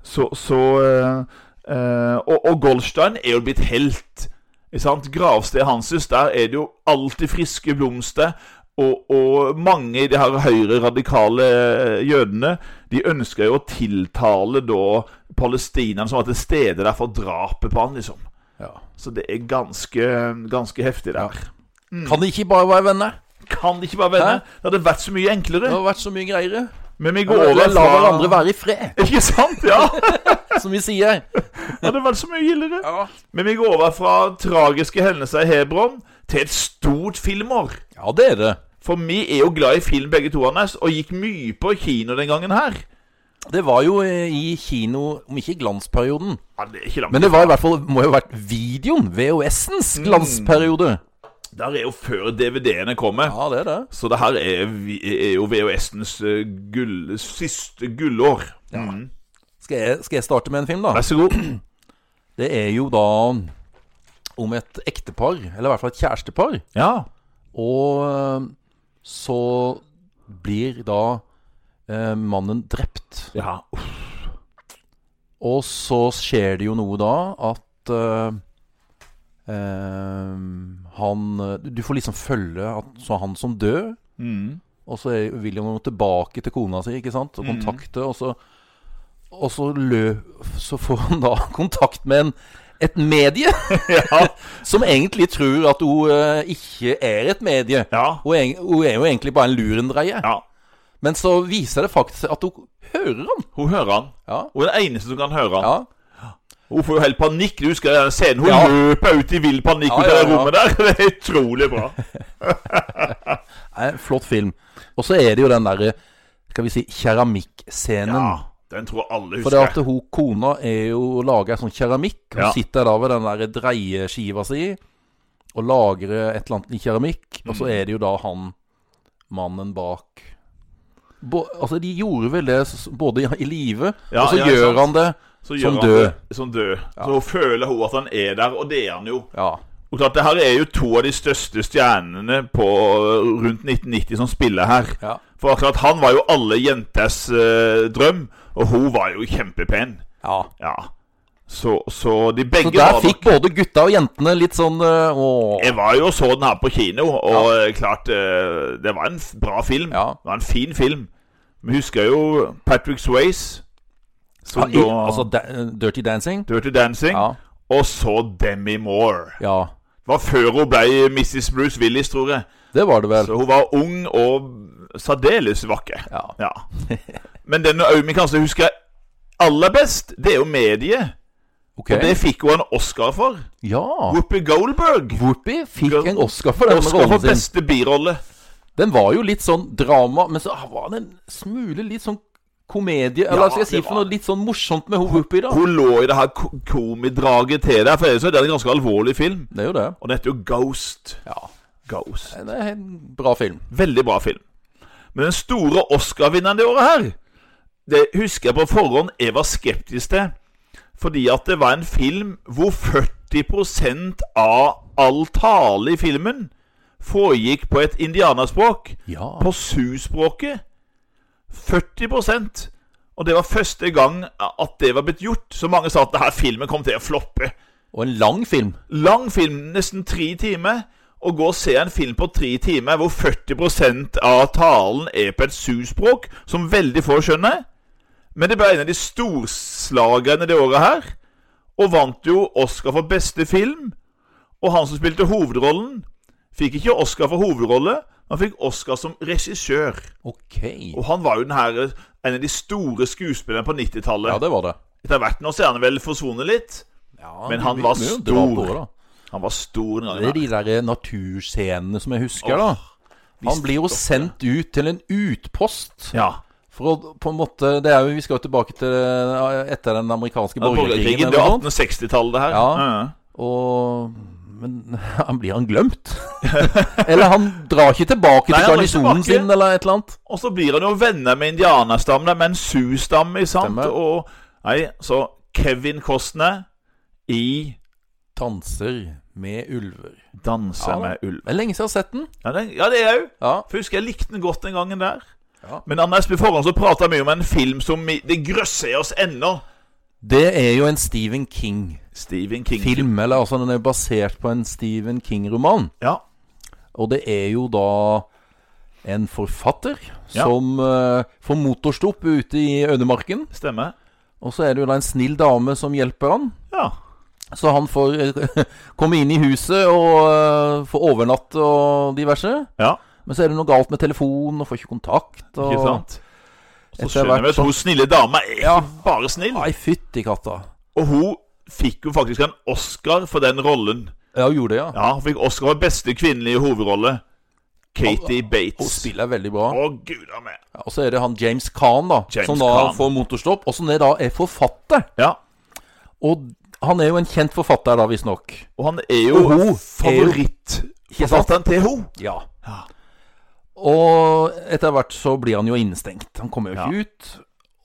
Så, så eh, eh, og, og Goldstein er jo blitt helt. Ikke sant? Gravstedet hans, der er det jo alltid friske blomster. Og, og mange i de her høyre-radikale jødene De ønsker jo å tiltale da palestinerne som var til stede der for drapet på han, liksom.
Ja.
Så det er ganske, ganske heftig der.
Kan de ikke bare være venner?
Kan det ikke bare
Hæ?
vende? Det hadde vært så mye enklere.
Det har vært så mye greiere.
Men vi
La
går over
la hverandre være i fred,
Ikke sant? Ja!
som vi sier.
Det hadde vært så mye gildere.
Ja,
Men vi går over fra tragiske hendelser i Hebron til et stort filmår.
det er det.
For vi er jo glad i film begge to, Anders, og gikk mye på kino den gangen her.
Det var jo eh, i kino, om ikke i glansperioden
Ja, det er ikke langt.
Men det var i hvert fall, må jo ha vært videoen, VHS-ens glansperiode.
Der er jo før DVD-ene kommer.
Ja, det er det.
Så det her er, vi- er jo VHS-ens eh, gull, siste gullår. Mm.
Skal jeg, skal jeg starte med en film, da?
Vær så god.
Det er jo da om et ektepar, eller i hvert fall et kjærestepar.
Ja.
Og eh, så blir da eh, mannen drept.
ja. Uff.
Og så skjer det jo noe da at eh, eh, han eh, Du får liksom følge at så er han som dør,
Mm.
og så er- vil han jo tilbake til kona si, ikke sant, og kontakte, og så og så, lø, så får han da kontakt med en, et medie
Ja.
som egentlig tror at hun eh, ikke er et medie.
ja.
Hun er, eng- hun er jo egentlig bare en lurendreie.
Ja.
Men så viser det faktisk at hun hører han.
Hun hører han.
Ja.
Hun er den eneste som kan høre han.
ja.
Hun får jo helt panikk. Du husker den scenen hun
Ja.
løper ut i vill panikk
Ja,
ut av
ja,
det
ja.
rommet der. Det er utrolig bra.
Er en Eh, flott film. Og så er det jo den derre Skal vi si keramikkscenen.
Ja, den tror jeg alle
For det
husker.
at hun kona er jo lager sånn keramikk. Hun
Ja.
sitter da ved den der dreieskiva si og lagrer et eller annet i keramikk. Og
Mm.
så er det jo da han mannen bak Bo, Altså, de gjorde vel det s- både i live,
Ja,
og så
ja,
gjør
sant.
han det.
Så gjør
som
han
død.
det- Som død. Så hun føler hun at han er der, og det er han jo.
Ja.
Og klart, det her er jo to av de største stjernene på rundt 1990 som spiller her.
Ja.
For akkurat han var jo alle jenters eh, drøm, og hun var jo kjempepen.
ja.
Ja. Så, så de begge
Så der
var
fikk både gutta og jentene litt sånn øh, Åh.
Jeg var jo og så den her på kino, og eh, klart eh, Det var en f- bra film.
Ja.
Det var en fin film. Vi husker jo Patrick Swayze, som
Ja, i,
da
altså da, Dirty Dancing.
Dirty Dancing.
Ja.
Og så Demi Moore.
ja.
Det var før hun ble Mrs. Bruce Willis, tror jeg.
Det var det vel.
Så hun var ung og særdeles vakker.
Ja.
Ja. Men den vi kanskje husker aller best, det er jo mediet.
Ok. Ah.
Og det fikk hun en Oscar for.
Ja.
Whoopi Goldberg.
Whoopi fikk en Oscar for den
Oscar for
rollen sin.
beste birolle.
Den var jo litt sånn drama, men så var den en smule litt sånn komedie. Eller
Ja,
hva skal jeg si
det
for
var-
noe litt sånn morsomt med ho- Whoopi, da.
Hun lå i det her ko- komidraget til der, for ellers er det en ganske alvorlig film.
Det er jo det.
Og den heter jo Ghost.
Ja.
Ghost.
Det er en bra film.
Veldig bra film. Men den store Oscar-vinneren det året her, det husker jeg på forhånd jeg var skeptisk til. Fordi at det var en film hvor 40 av all tale i filmen foregikk på et indianerspråk.
Ja.
På suspråket. 40 Og det var første gang at det var blitt gjort. Så mange sa at denne filmen kom til å floppe.
Og en lang film.
Lang film, nesten tre timer. Å gå og se en film på tre timer hvor 40 av talen er på et suspråk som veldig få skjønner. Men det ble en av de storslagerne det året her. Og vant jo Oscar for beste film. Og han som spilte hovedrollen, fikk ikke Oscar for hovedrolle, han fikk Oscar som regissør.
Ok.
Og han var jo den her, en av de store skuespillerne på
Ja,
90-tallet.
det var det.
Etter hvert nå så er han vel forsvunnet litt.
Ja,
Men
du
han
vil-
var
du vil jo
stor.
dra på det, da.
Han var stor den gangen.
Det er de der eh, naturscenene som jeg husker,
Åh,
da. Han blir jo sendt ut til en utpost
Ja.
for å på en måte Det er jo Vi skal jo tilbake til eh, etter den amerikanske
Ja, Borgerkrigen,
borgerkrigen.
det er
Eller noe sånt.
1860-tallet, det her.
Ja.
Ja.
Og Men han blir han glemt? eller han drar ikke tilbake
Nei,
til
han drar ikke
garnisonen
tilbake.
sin, eller et eller annet?
Og så blir han jo venner med indianerstammen, der, med en sus-stamme, ikke sant?
Stemmer.
Og Nei, så Kevin Costner i
Danser med ulver.
'Danser
Ja da.
med ulv'.
Det er lenge siden jeg har sett den.
Ja, den, ja det er jeg òg.
Ja.
For jeg husker jeg likte den godt den gangen der.
Ja.
Men Anders på forhånd så prata mye om en film som vi- det grøsser i oss ennå.
Det er jo en Stephen King-film.
Stephen King.
Eller altså, den er jo basert på en Stephen King-roman.
Ja.
Og det er jo da en forfatter
Ja.
som eh, får motorstopp ute i ødemarken.
Stemmer.
Og så er det jo da en snill dame som hjelper han.
Ja.
Så han får eh, komme inn i huset og eh, få overnatte og diverse.
ja.
Men så er det noe galt med telefonen og får ikke kontakt. Og...
Ikke sant? Så
Etter
skjønner
hvert
vi at hun snille dama er
Ja.
ikke bare snill.
Nei, fytti katta.
Og hun fikk jo faktisk en Oscar for den rollen.
Ja, hun gjorde det, ja.
Ja, Hun fikk Oscar for beste kvinnelige hovedrolle. Katie
Hun
Bates.
spiller veldig bra.
Å, gud a meg.
Ja, og så er det han James Khan, da,
James
som da
Caan.
får motorstopp. Og som det da er forfatter.
Ja.
Og han er jo en kjent forfatter, da, visstnok.
Og han er jo
Og hun er jo-
favorittforfatteren til henne.
Ja.
Ja.
Og etter hvert så blir han jo innestengt. Han kommer jo ikke ut.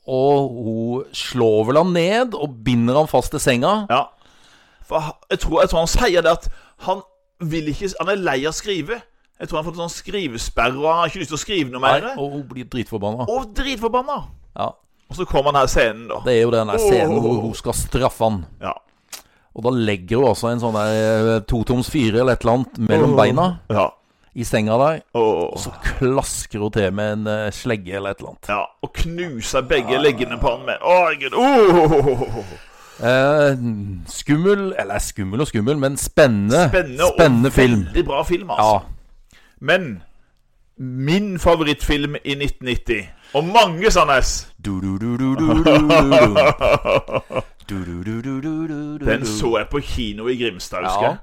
Og hun slår vel han ned og binder han fast til senga.
Ja. For ha- jeg tror, jeg tror han sier det at han vil ikke Han er lei av å skrive. Jeg tror han har fått en sånn skrivesperre, og han har ikke lyst til å skrive noe mer.
Nei, og hun blir dritforbanna.
Og dritforbanna.
Ja,
Og så kommer han her scenen, da.
det er jo den der scenen hvor hun skal straffe han.
Ja.
Og da legger hun altså en sånn der eh, totoms fire eller et eller annet mellom beina
Ja.
i senga der.
Og,
Så klasker hun til med en eh, slegge eller et eller annet.
ja. og knuser begge leggene på han med. Å, herregud. Åh.
Eh, skummel Eller skummel og skummel, men spennende.
Spennende,
Eh, spennende
og
film.
veldig bra film,
Ja.
altså. Men min favorittfilm i 1990, og mange, Sandnes Den
Den
så jeg på kino i Grimstad, husker
Mm. Ja.
jeg.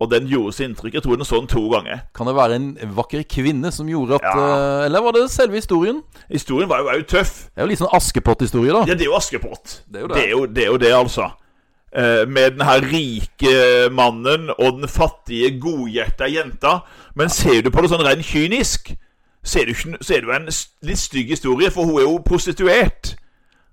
Og den gjorde så inntrykk. Jeg tror den så den to ganger.
Kan det være en vakker kvinne som gjorde at
Ja.
eh, Eller var det selve historien?
Historien var jo òg tøff.
Det er jo litt sånn Askepott-historie, da.
Ja, det er jo Askepott.
Det er jo det.
Det er jo det, er jo det altså. Eh, med den her rike mannen og den fattige, godhjerta jenta. Men ser du på det sånn rent kynisk, så er det jo ikke- så er det jo en s- litt stygg historie, for hun er jo prostituert.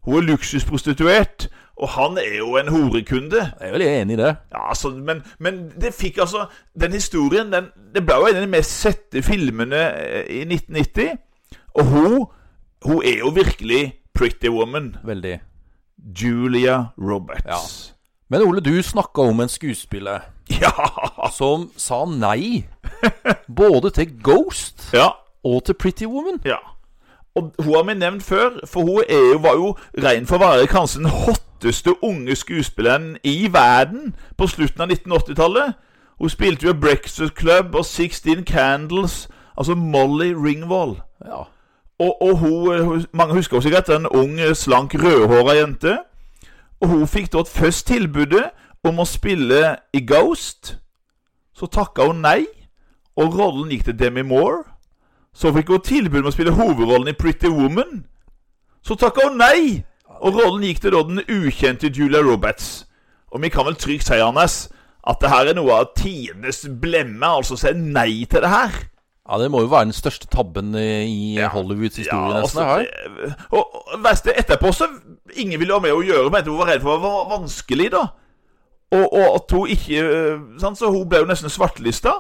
Hun er luksusprostituert, og han er jo en horekunde.
Jeg er vel enig i det.
Ja, altså, men, men det fikk altså Den historien den, Det ble jo en av de mest sette filmene eh, i 1990. Og hun Hun er jo virkelig pretty woman.
Veldig.
Julia Roberts.
Men Ole, du snakka om en skuespiller
Ja.
som sa nei både til Ghost
ja!
og til Pretty Woman.
Ja. Og hun har vi nevnt før, for hun er jo, var jo rein for å være kanskje den hotteste unge skuespilleren i verden på slutten av 1980-tallet. Hun spilte jo i Breakfast Club og 16 Candles, altså Molly Ringwald.
Ja.
eh, Og, og hun, hun- mange husker henne sikkert, en ung, slank, rødhåra jente. Og hun fikk da først tilbudet om å spille i Ghost. Så takka hun nei, og rollen gikk til Demi Moore. Så fikk hun tilbud om å spille hovedrollen i Pretty Woman. Så takka hun nei, og rollen gikk til da den ukjente Julia Roberts. Og vi kan vel trygt si, Anders, at det her er noe av tidenes blemme, altså å si nei til det her.
Ja, Det må jo være den største tabben eh, i Hollywoods historie, nesten. det her.
det- altså, eh, og, og verste etterpå så Ingen ville ha med å gjøre, men hun var redd for hva var vanskelig, da. Og, og at hun ikke eh, sant? Så hun ble jo nesten svartlista.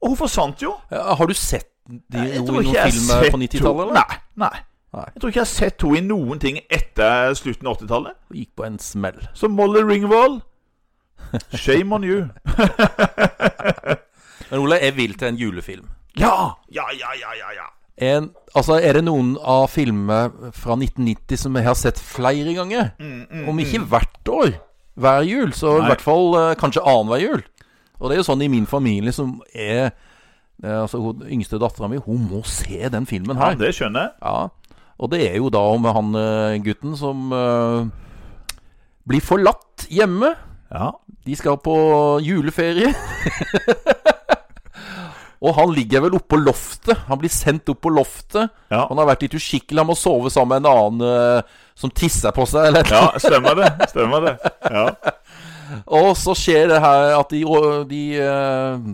Og hun forsvant jo.
Ja, har du sett de,
Jeg
noe
tror
i
ikke
noen
jeg har
film eh,
sett
på 90-tallet?
henne-
eller?
Nei, nei.
Nei.
Jeg tror ikke jeg har sett henne i noen ting etter slutten av 80-tallet.
Hun Gikk på en smell.
Så Molly Ringwald Shame on you.
Men Ole, jeg vil til en julefilm.
Ja! Ja, ja, ja, ja. ja.
En, altså, er det noen av filmene fra 1990 som jeg har sett flere ganger? Om ikke hvert år, hver jul, så
Mm, Nei.
i hvert fall eh, kanskje annenhver jul. Og det er jo sånn i min familie som er eh, Altså, hun yngste dattera mi, hun må se den filmen
ja
her.
det skjønner jeg.
Ja, og det er jo da om han eh, gutten som eh, blir forlatt hjemme.
Ja.
De skal på juleferie. og han ligger vel oppå loftet. Han blir sendt opp på loftet.
Ja.
Han har vært litt uskikkelig. Han må sove sammen med en annen eh, som tisser på seg. Eller.
ja, stemmer det. Stemmer det. Ja.
Og så skjer det her at de, og de eh,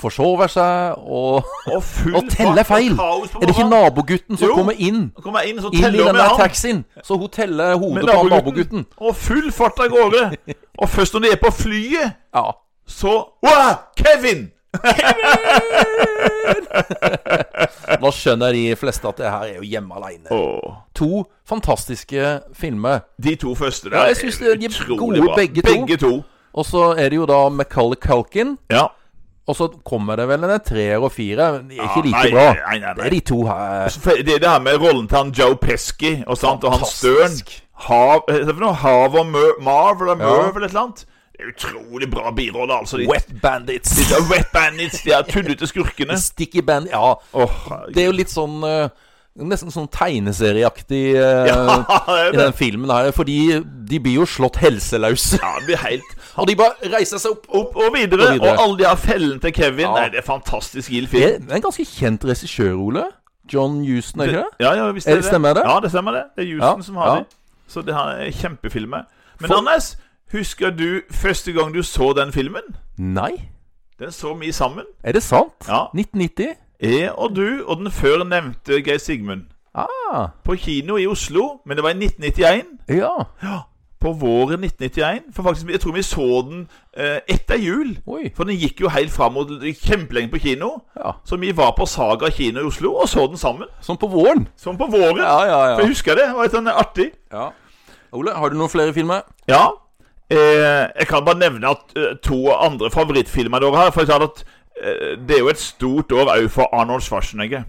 forsover seg, og,
Og full
og teller feil. Er det ikke nabogutten som
Jo.
kommer inn?
Kommer jeg inn, så
Inn i
teller hun
den
med
der
han.
taxien. Så hun teller
Med
hodet på han
nabogutten.
nabogutten.
Og full fart av gårde. Og først når de er på flyet,
Ja.
så Wow! Kevin!
Da skjønner de fleste at det her er jo hjemme aleine.
Åh.
To fantastiske filmer.
De to første der
Ja, jeg synes de er
utrolig
gode begge to.
Begge to.
Og så er det jo da McCullough Culkin.
Ja.
Og så kommer det vel en treer og fire. Men de er
Ja,
ikke like
nei,
bra.
nei, nei, nei.
Det er de to her.
For Det er det her med rollen til han Joe Pesky og, sant, og han Støren.
Fantastisk.
Hav, eh, hva er det for noe? Hav og Mø- Marv eller Møv
Ja.
eller et eller annet. Det er utrolig bra biroller, altså. De,
Wet Bandits.
de er wet bandits, de er tullete skurkene.
Sticky Band Ja,
Åh,
det er jo litt sånn eh, Nesten sånn tegneserieaktig eh,
Ja, det er
i den filmen her. Fordi de blir jo slått helseløse.
ja, det blir helt
Og de bare reiser seg opp.
opp og videre.
Og
Og,
videre.
alle de her fellene til Kevin.
Ja.
Nei, det er fantastisk gild
Det
film.
er en ganske kjent regissør, Ole. John Houston, er ikke det?
Ja, ja, visst
Er det- stemmer det?
Ja, det stemmer det. Det er Houston
Ja,
som har
ja.
det. Så det her er kjempefilmer. Men
For-
Anders, husker du første gang du så den filmen?
Nei?
Den så vi sammen.
Er det sant?
Ja.
1990?
Jeg og du og den før nevnte Geir Sigmund.
Ah,
På kino i Oslo, men det var i 1991.
ja.
På våren 1991. For faktisk, jeg tror vi så den eh, etter jul.
Oi.
For den gikk jo helt fram og det gikk kjempelenge på kino.
Ja.
Så vi var på Saga kino i Oslo og så den sammen.
Som på våren.
Som på våren.
Ja, ja,
For jeg husker det. Det var litt sånn artig.
Ja. Ole, har du noen flere filmer?
Ja. Eh, jeg kan bare nevne at eh, to andre favorittfilmer dere har. For jeg sa at eh, det er jo et stort år òg for Arnold Schwarzenegger.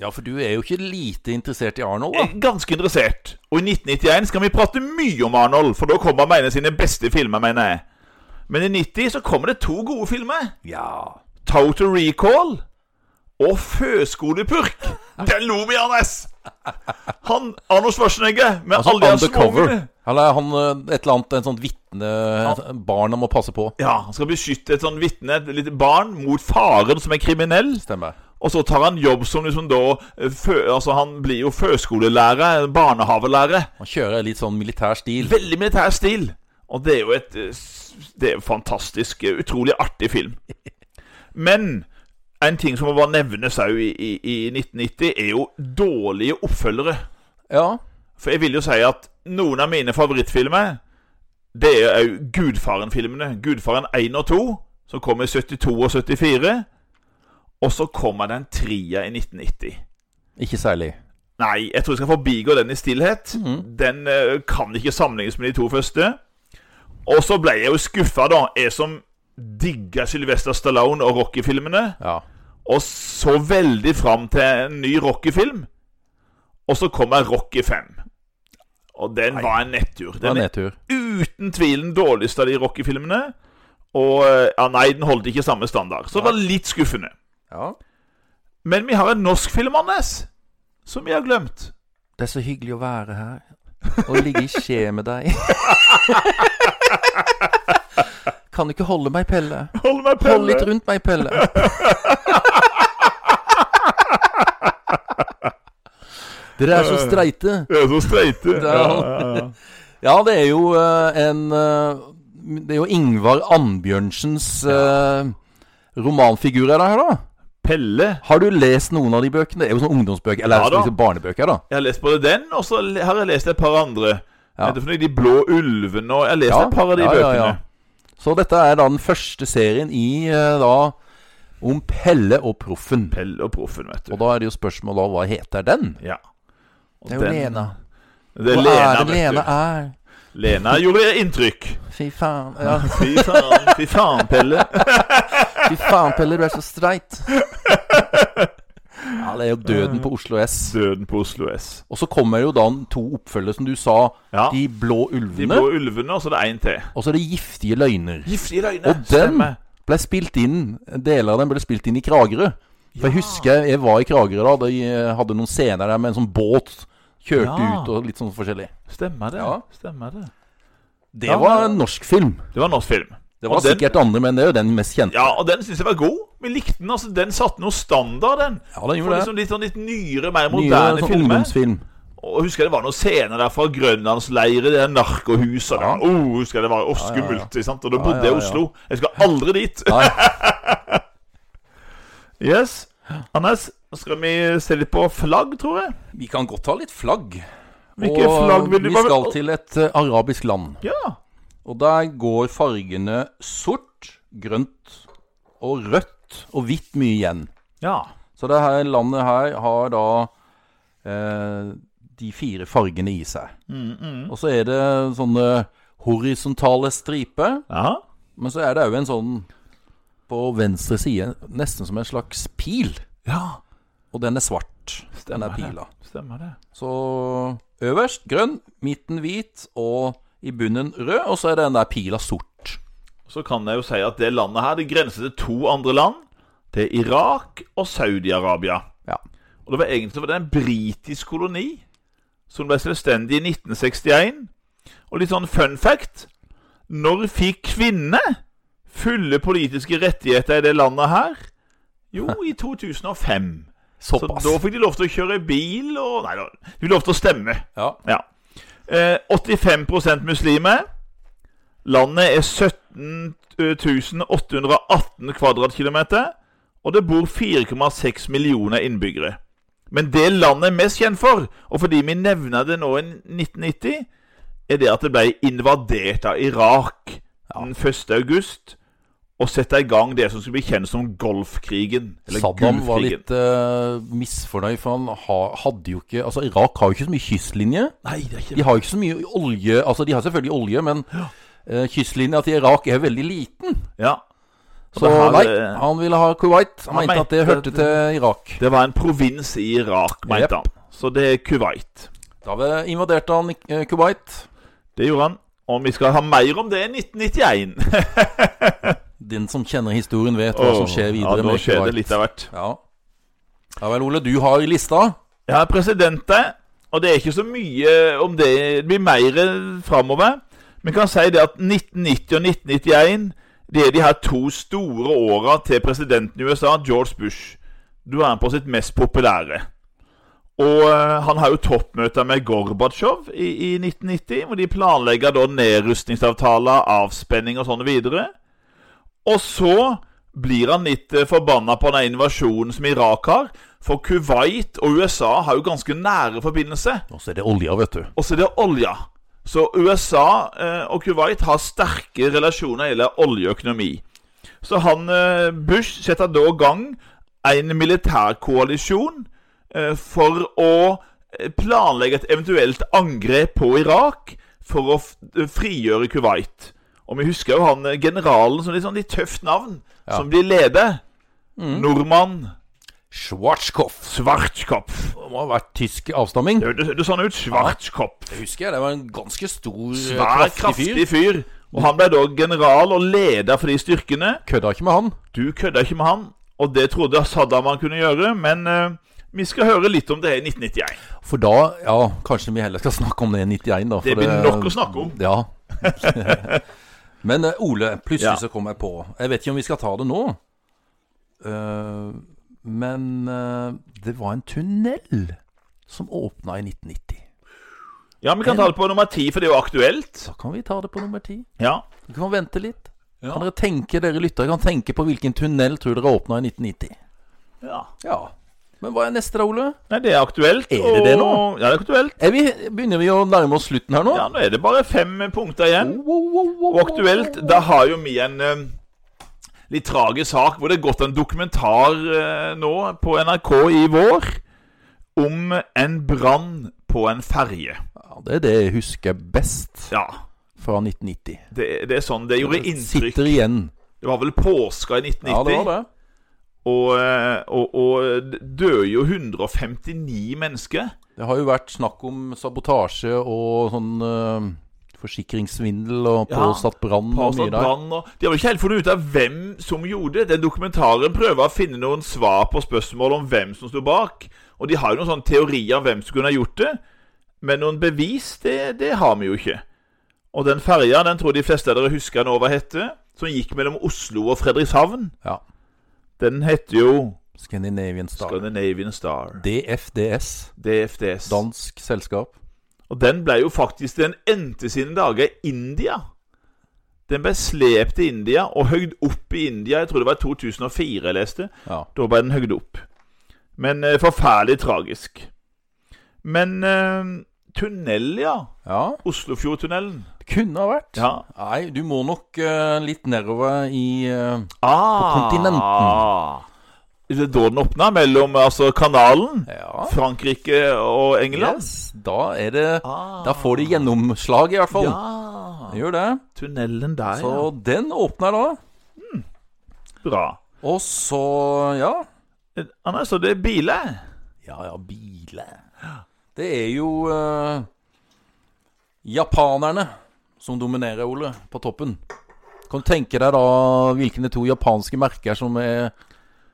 Ja, for du er jo ikke lite interessert i Arnold,
Jeg
da.
er ganske interessert. Og i 1991 skal vi prate mye om Arnold, for da kommer han med en av sine beste filmer, mener jeg. Men i 90 så kommer det to gode filmer.
Ja.
Total Recall og Føskolepurk. Den lo vi, Anders! Han Arnold Schwarzenegger med
Altså
alle de her
Undercover.
småungene.
Eller er han eh, et eller annet en sånn vitne Barn han må passe på.
Ja, han skal beskytte et sånn vitne, et lite barn, mot faren som er kriminell.
Stemmer.
Og så tar han jobb som liksom da eh, fø, Altså, han blir jo førskolelærer, barnehavelærer.
Han kjører litt sånn militær stil.
Veldig militær stil. Og det er jo et eh, s- Det er en fantastisk, eh, utrolig artig film. Men en ting som må bare nevnes òg i, i, i 1990, er jo dårlige oppfølgere.
Ja.
For jeg vil jo si at noen av mine favorittfilmer, det er òg Gudfaren-filmene. Gudfaren 1 og 2, som kom i 72 og 74. Og så kommer den tria i 1990.
Ikke særlig.
Nei, jeg tror jeg skal forbigå den i stillhet. Den eh, kan ikke sammenlignes med de to første. Og så ble jeg jo skuffa, da. Jeg som digga Sylvester Stallone og Rocky-filmene.
Ja.
Og så veldig fram til en ny Rocky-film. Og så kommer Rocky 5. Og den
Nei.
var en nettur.
Det var
Den er
nedtur.
uten tvil den dårligste av de Rocky-filmene. Og eh, ja, nei, den holdt ikke samme standard. Så det var litt skuffende.
Ja.
Men vi har en norsk film, Anders, som vi har glemt.
Det er så hyggelig å være her. og ligge i skje med deg. kan du ikke holde meg, Pelle?
Hold meg,
Hold
Pelle!
litt rundt meg, Pelle. Dere er så streite.
Det er så streite.
Det er han. Ja, det er jo eh, en eh, Det er jo Ingvar Annbjørnsens eh, romanfigurer der, da.
Pelle.
Har du lest noen av de bøkene? Det er jo sånne ungdomsbøker, eller
Ja, da.
liksom barnebøker, da.
Jeg har lest både den, og så le- har jeg lest et par andre.
Ja.
Ja. De blå ulvene og Jeg har lest et par av de bøkene.
Så dette er da den første serien i eh, da om Pelle og Proffen.
Pelle og Proffen, vet du.
Og da er det jo spørsmål da, hva heter den?
ja. Og
Det er jo
den-
Lena.
Det er
Hva
Lena,
er det
vet
Lena
du.
er?
Lena gjorde inntrykk.
Fy faen. Ja.
Fy faen, fy faen, Pelle.
Fy faen, Pelle, du er så streit. Ja, det er jo døden på Oslo S.
Døden på Oslo S.
Og så kommer jo da to oppfølgere, som du sa.
Ja.
De blå
De
ulvene,
blå ulvene, og så er det én til.
og så er det giftige løgner.
Giftige løgner.
Og den ble spilt inn Deler av den ble spilt inn i Kragerø. For jeg husker jeg var i Kragerø da. De eh, hadde noen scener der med en sånn båt. Kjørte
Ja.
ut og litt sånn forskjellig.
Stemmer det.
Ja.
Stemmer det.
Det
Ja.
var en norsk film.
Det var en norsk film.
Det var
Og den-
sikkert andre, men det er jo den mest kjente.
Ja, og den syns jeg var god. Vi likte den. altså Den satte noe standard, den.
Ja, den
For
gjorde det.
liksom litt, sånn, litt nyere, mer
Nye
moderne
sånn
filmer.
ungdomsfilm.
Og husker jeg det var noen scener der fra Grønlandsleire, det der narkohuset og
Ja.
der. Oh, husker jeg det var åh, skummelt, ikke sant? Og da
Ja,
bodde
ja,
jeg
ja.
i Oslo. Jeg skal aldri dit.
Nei.
Yes. Anders, nå skal vi se litt på flagg, tror jeg.
Vi kan godt ha litt flagg.
Hvilke
og
flagg vil du
vi skal til et eh, arabisk land.
Ja.
Og der går fargene sort, grønt og rødt og hvitt mye igjen.
ja.
Så det her landet her har da eh, de fire fargene i seg.
Mm,
Og så er det sånne horisontale striper,
Jaha.
men så er det òg en sånn på venstre side, nesten som en slags pil.
Ja.
Og den er svart, den er
Stemmer det.
pila.
Stemmer det.
Så øverst grønn, midten hvit og i bunnen rød, og så er den der pila sort.
Så kan jeg jo si at det landet her, det grenser til to andre land. Det er Irak og Saudi-Arabia.
Ja.
Og det var egentlig det var en britisk koloni som ble selvstendig i 1961. Og litt sånn fun fact Når fikk kvinner fulle politiske rettigheter i det landet her? Jo, i 2005. Så
Såpass.
da fikk de lov til å kjøre bil og Nei da, de fikk lov til å stemme.
Ja.
Ja. Eh, 85 muslimer. Landet er 17 818 kvadratkilometer, og det bor 4,6 millioner innbyggere. Men det landet er mest kjent for, og fordi vi nevner det nå i 1990, er det at det ble invadert av Irak den 1. august, og sette i gang det som skulle bli kjent som Golfkrigen. Eller
Saddam var
Gulfkrigen.
litt eh, misfornøyd, for han ha, hadde jo ikke Altså, Irak har jo ikke så mye kystlinje.
Nei, det er ikke
De har jo ikke så mye olje Altså, de har selvfølgelig olje, men eh, kystlinja til Irak er veldig liten.
Ja. Og
Så
det her,
nei,
eh,
han ville ha Kuwait. Han,
han
mente at det
mente
hørte
at-
til Irak.
Det var en provins i Irak, mente
Jep.
han. Så det er Kuwait.
Da var- invaderte han eh, Kuwait.
Det gjorde han. Og vi skal ha mer om det i 1991.
Den som kjenner historien, vet hva som skjer
ja,
videre
da
med
skjer
Kuwait.
det litt av hvert.
Ja. ja vel, Ole. Du har i lista.
Jeg har presidenter, og det er ikke så mye om det. Det blir mer framover. Vi kan si det at 1990 og 1991 det er de her to store åra til presidenten i USA, George Bush. Da er han på sitt mest populære. Og eh, han har jo toppmøter med Gorbatsjov i, i 1990, hvor de planlegger da nedrustningsavtaler, avspenning og sånn videre. Og så blir han litt eh, forbanna på den invasjonen som Irak har. For Kuwait og USA har jo ganske nære forbindelse.
Og så er det olja, vet du.
Og så er det olja. Så USA eh, og Kuwait har sterke relasjoner når det gjelder oljeøkonomi. Så han eh, Bush setter da i gang en militærkoalisjon eh, for å eh, planlegge et eventuelt angrep på Irak for å f eh, frigjøre Kuwait. Og vi husker jo han eh, generalen som litt sånn litt tøft navn,
Ja.
som blir leder. Nordmann
Schwarzkopf.
Schwarzkopf.
Det må ha vært tysk avstamming.
Det hørtes hørtes sånn ut. Schwarzkopf.
Det husker jeg. Det var en ganske stor, eh,
Svær, kraftig fyr. Og han ble da general og leder for de styrkene.
Kødda ikke med han.
Du kødda ikke med han, og det trodde Saddam han kunne gjøre, men eh, Vi skal høre litt om det her i 1991.
For da Ja, kanskje vi heller skal snakke om det i 91, da. for
Det blir nok å snakke om.
Ja. Men eh, Ole, plutselig
Ja.
så kom jeg på Jeg vet ikke om vi skal ta det nå. Eh, men eh, det var en tunnel som åpna i 1990.
Ja, vi kan ta det på nummer ti, for det er jo aktuelt.
Da kan vi ta det på nummer ti.
Ja.
Du kan vente litt.
Ja.
Kan dere tenke, dere lyttere kan tenke på hvilken tunnel tror dere åpna i 1990?
ja.
Ja. Men hva er neste, da, Ole?
Nei, det er aktuelt.
Er det det nå?
og- Ja, det er aktuelt.
Er vi, begynner vi å nærme oss slutten her nå?
Ja, nå er det bare fem eh, punkter igjen.
Wow, wow, wow,
Og aktuelt, da har jo vi en eh, litt tragisk sak hvor det er gått en dokumentar eh, nå på NRK i vår om en brann på en ferge.
Ja, det er det jeg husker best
Ja,
fra 1990.
det, det er sånn det gjorde inntrykk.
Sitter igjen.
Det var vel påska i 1990,
Ja, det var det.
og, eh, og, og det døde jo 159 mennesker.
Det har jo vært snakk om sabotasje og sånn eh, forsikringssvindel og
Ja,
påsatt brann og mye
Påstått
der.
brann og De har vel ikke helt funnet ut av hvem som gjorde det. Den dokumentaren prøver å finne noen svar på spørsmål om hvem som sto bak. Og de har jo noen sånne teorier om hvem som kunne ha gjort det, men noen bevis, det, det har vi jo ikke. Og den ferja, den tror de fleste av dere husker nå hva hette, som gikk mellom Oslo og Fredrikshavn,
Ja.
den heter jo
Scandinavian Star.
Scandinavian Star.
DFDS.
DFDS.
Dansk selskap.
Og den ble jo faktisk Den endte sine dager i India. Den ble slept til India og høgd opp i India. Jeg tror det var 2004 jeg leste.
Ja.
Da ble den høgd opp. Men eh, forferdelig tragisk. Men eh, tunnel, ja.
ja.
Oslofjordtunnelen.
Det kunne ha vært.
Ja.
Nei, du må nok eh, litt nedover i eh,
Ah,
kontinenten.
Det er da den åpna, mellom altså, kanalen,
Ja.
Frankrike og England.
Yes. Da er det
Ah.
Da får de gjennomslag, i hvert fall.
Ja.
Gjør det.
Tunnelen der,
Så den åpner da.
ja. Bra.
Og så, ja
Eh, Anders, så det er biler.
Ja, ja, biler. Det er jo eh, japanerne som dominerer, Ole, på toppen. Kan du tenke deg da hvilke to japanske merker som er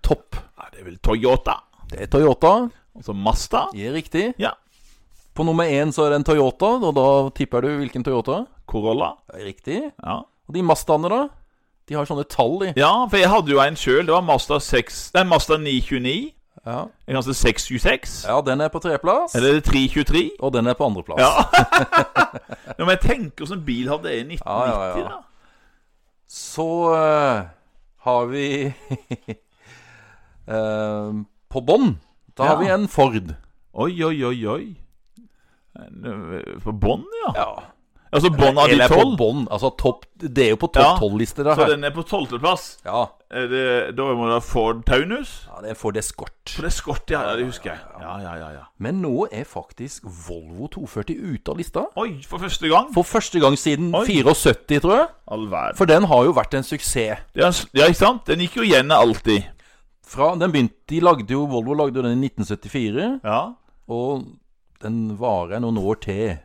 topp?
Ja, det er vel Toyota.
Det er Toyota,
Altså Mazda.
det er riktig.
Ja.
På nummer én så er det en Toyota, og da tipper du hvilken Toyota?
Corolla.
Det er riktig.
Ja.
Og de Mazdaene, da? De har sånne tall, de.
ja, for jeg hadde jo en sjøl. Det var Mazda 6 Nei, Mazda 929.
Ja,
En ganske 626.
ja den er på tredjeplass.
Eller er det 323?
Og den er på andreplass.
Ja. Når men jeg tenker sånn hvordan bil hadde jeg i 1990,
Ja, ja, ja.
da.
Så eh, har vi eh, På bånn, da
Ja.
har vi en Ford.
Oi, oi, oi, oi. En, ø, På bånn, ja.
Ja.
Altså bånn av de
Eller på
tolv.
bånn. Altså topp Det er jo på
Ja.
topp tolv-lister, det
Så
her.
den er på tolvteplass.
Ja.
Er det- Da må det være Ford Taunus.
ja, det er Ford Escort.
For det er skott, ja. ja, Det husker jeg. Ja, ja, ja, ja.
Men nå er faktisk Volvo 240 ute av lista.
Oi, for første gang.
For første gang siden
Oi.
74, tror jeg.
All verden.
For den har jo vært en suksess.
Ja, s- ja, ikke sant? Den gikk jo igjen alltid.
Fra, den begynte, de lagde jo, Volvo lagde jo den i 1974,
Ja.
og den varer noen år til.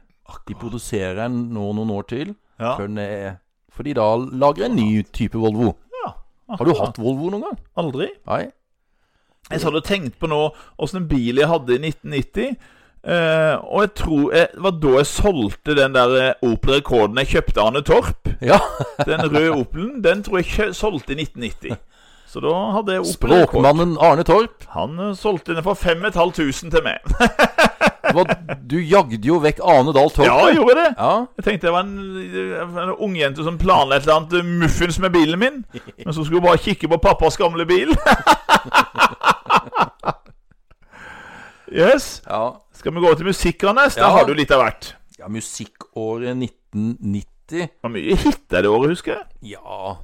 De produserer den nå noen år til.
ja.
før den er Fordi da lager jeg en ny type Volvo. Har du hatt Volvo noen gang?
Aldri.
Nei?
Jeg hadde tenkt på nå åssen en bil jeg hadde i 1990. eh, og jeg tror jeg, det var da jeg solgte den der eh, Opel-rekorden jeg kjøpte av Arne Torp.
Ja.
Den røde Opelen, den tror jeg kjø solgte i 1990. Så da hadde jeg Opel-rekord.
Språkmannen Arne Torp.
Han eh, solgte den for 5500 til meg.
Det var, du jagde jo vekk Ane Dahl Torp.
Ja, jeg gjorde det.
Ja.
Jeg tenkte jeg var en, en ungjente som planla et eller annet eh, muffins med bilen min. Men så skulle hun bare kikke på pappas gamle bil. yes.
ja.
Skal vi gå til musikk, Anders?
Ja.
Da har du litt av hvert.
Ja, musikkåret 1990.
Det var mye hit det året, husker jeg.
Ja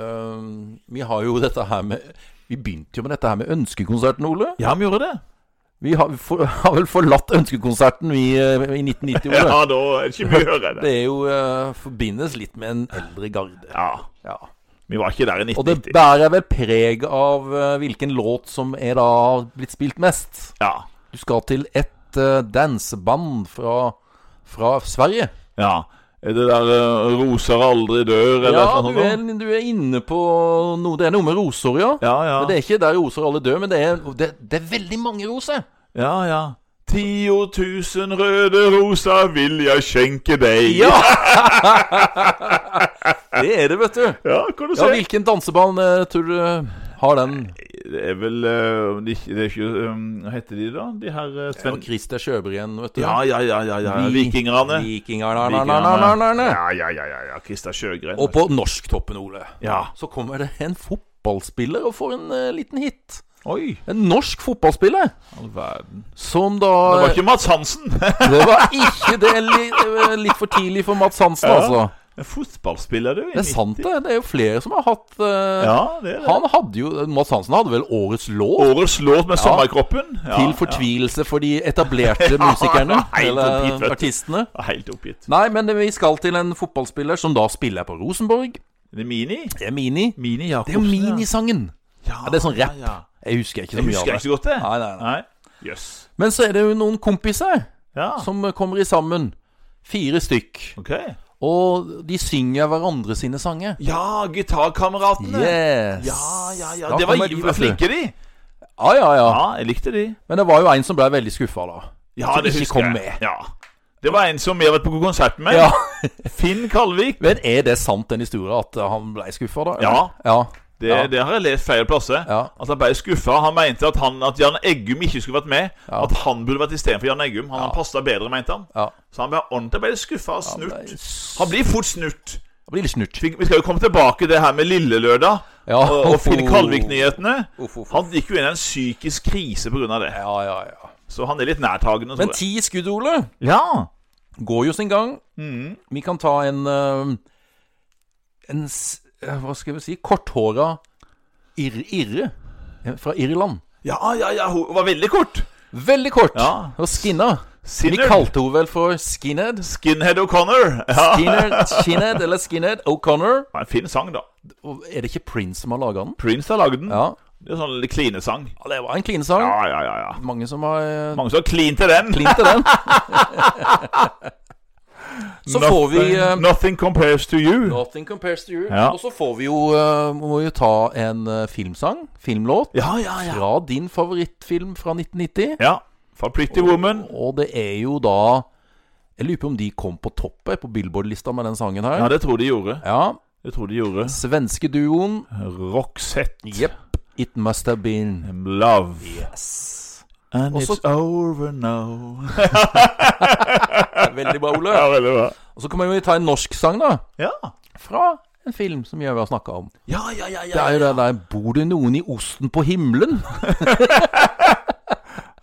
øhm, Vi har jo dette her med Vi begynte jo med dette her med ønskekonserten, Ole.
Ja, vi gjorde det.
Vi har, for, har vel forlatt ønskekonserten vi, eh, i 1990, Ole.
Ja, da er det ikke mye å høre.
Det er jo eh, forbindes litt med en eldre garde.
Ja,
Ja.
vi var ikke der i
Og det
1990.
bærer vel preg av eh, hvilken låt som er da blitt spilt mest.
Ja.
Du skal til et eh, danseband fra, fra Sverige.
ja. Er det der eh, 'Roser aldri dør', eller
Ja,
noe
du er,
sånt?
du er inne på noe Det er noe med roser, ja.
Ja, ja.
Men det er ikke der roser alle dør, men det er, det, det er veldig mange roser.
Ja, ja. 10.000 røde roser vil jeg skjenke deg.
Ja! det er det, vet du.
Ja, kan du
Ja,
se.
Hvilken danseball eh, tror du har den?
Det er vel eh, de, det er ikke, eh, Hva heter de, da? De her eh,
Og
Sven...
Christer Sjøbergen, vet du.
Ja, ja, ja. ja, ja.
Vi-
Vikingerne.
Vikingerne.
Vikingerne. Ja, ja, ja. ja, ja. Christer Sjøgren.
Og på norsktoppen, Ole,
Ja.
så kommer det en fotballspiller og får en eh, liten hit.
Oi,
En norsk fotballspiller
all verden.
som da
Det var ikke Mats Hansen.
Det var ikke det. Litt, litt for tidlig for Mats Hansen,
Ja.
altså.
En fotballspiller, du. i
Det er sant, det. Det er jo flere som har hatt eh,
90. Ja, det er det.
Han hadde jo Mats Hansen hadde vel Årets låt?
Årets låt med sommerkroppen. Ja,
til fortvilelse for de etablerte musikerne.
helt oppgitt,
eller
vet du.
artistene.
Ja. Helt oppgitt.
Nei, men vi skal til en fotballspiller som da spiller på Rosenborg.
Det er Mini.
Det er Mini.
Mini
Det er jo
Jacobsen.
Minisangen.
Ja.
Ja, det er sånn rap.
Ja, ja.
Jeg husker ikke så
Jeg
mye
husker
av
ikke
det.
så godt det.
Nei, nei, nei.
Jøss. Yes.
Men så er det jo noen kompiser
Ja.
som kommer i sammen. Fire stykk.
Ok.
Og de synger hverandre sine sanger.
Ja, gitarkameratene.
Yes.
Ja, ja, ja.
Da
Det var,
kommer
de
vet
var
du.
flinke, de.
Ja, ja, ja.
Ja, jeg likte de.
Men det var jo en som ble veldig skuffa, da.
Ja,
Som
det
ikke
husker
kom
jeg.
med.
Ja. Det var en som vi har vært på konsert med.
Ja.
Finn Kalvik.
Men er det sant, den historien, at han ble skuffa, da?
Ja.
ja.
Det,
Ja.
det har jeg lest feil plasser.
Ja.
At han ble skuffa. Han mente at, han, at Jan Eggum ikke skulle vært med. At han burde vært istedenfor Jan Eggum. Han, han passa bedre, mente han.
Ja.
Så han ble ordentlig ble skuffa og
ble
snurt.
s-
Han blir fort snurt.
Det blir litt snurt.
Vi vi skal jo komme tilbake til det her med Lille Lørdag
Ja.
og, og Finn
Oh.
Kalvik-nyhetene.
Uff, uff, uff.
Han gikk jo inn i en psykisk krise pga. det.
Ja, ja, ja.
Så han er litt
Men
nærtagende. tror jeg.
ti skudd, Ole,
Ja.
går jo sin gang.
Mm.
Vi kan ta en eh, En s- eh, Hva skal vi si? Korthåra irre, irre eh, fra Irland.
ja, ja, ja. Hun var veldig kort.
Veldig kort.
Ja.
Og skinna. Vi
Sinner.
kalte henne vel for Skinhead.
Skinhead O'Connor. Ja.
Skinhead, Skinhead eller Skinhead O'Connor.
Det var En fin sang, da.
Og Er det ikke Prince som har laga den?
Prince har lagd den.
Ja.
Det er sånn litt klinesang.
ja, det var en klinesang.
Ja, ja, ja, ja.
Mange som har eh,
Mange som har klint til den.
klint til den. så får vi eh,
Nothing compares to you.
Nothing compares to you.
Ja.
Og så får vi jo eh, Må jo ta en eh, filmsang, filmlåt,
Ja, ja, ja.
fra din favorittfilm fra 1990.
Ja. Fra Pretty Woman.
Og det er jo da Jeg lurer på om de kom på toppet på Billboard-lista med den sangen her.
Ja, det tror de gjorde.
Ja.
Det tror de gjorde.
Svenske duoen.
Roxette.
Jepp. It must have been.
Love.
Yes.
And
Også-
it's over now.
Veldig bra, Ole.
ja, veldig bra.
Og så kan vi jo ta en norsk sang, da.
Ja.
Fra en film som vi har snakka om.
Ja, ja, ja,
Det
ja.
er jo det der 'Bor det noen i osten på himmelen?'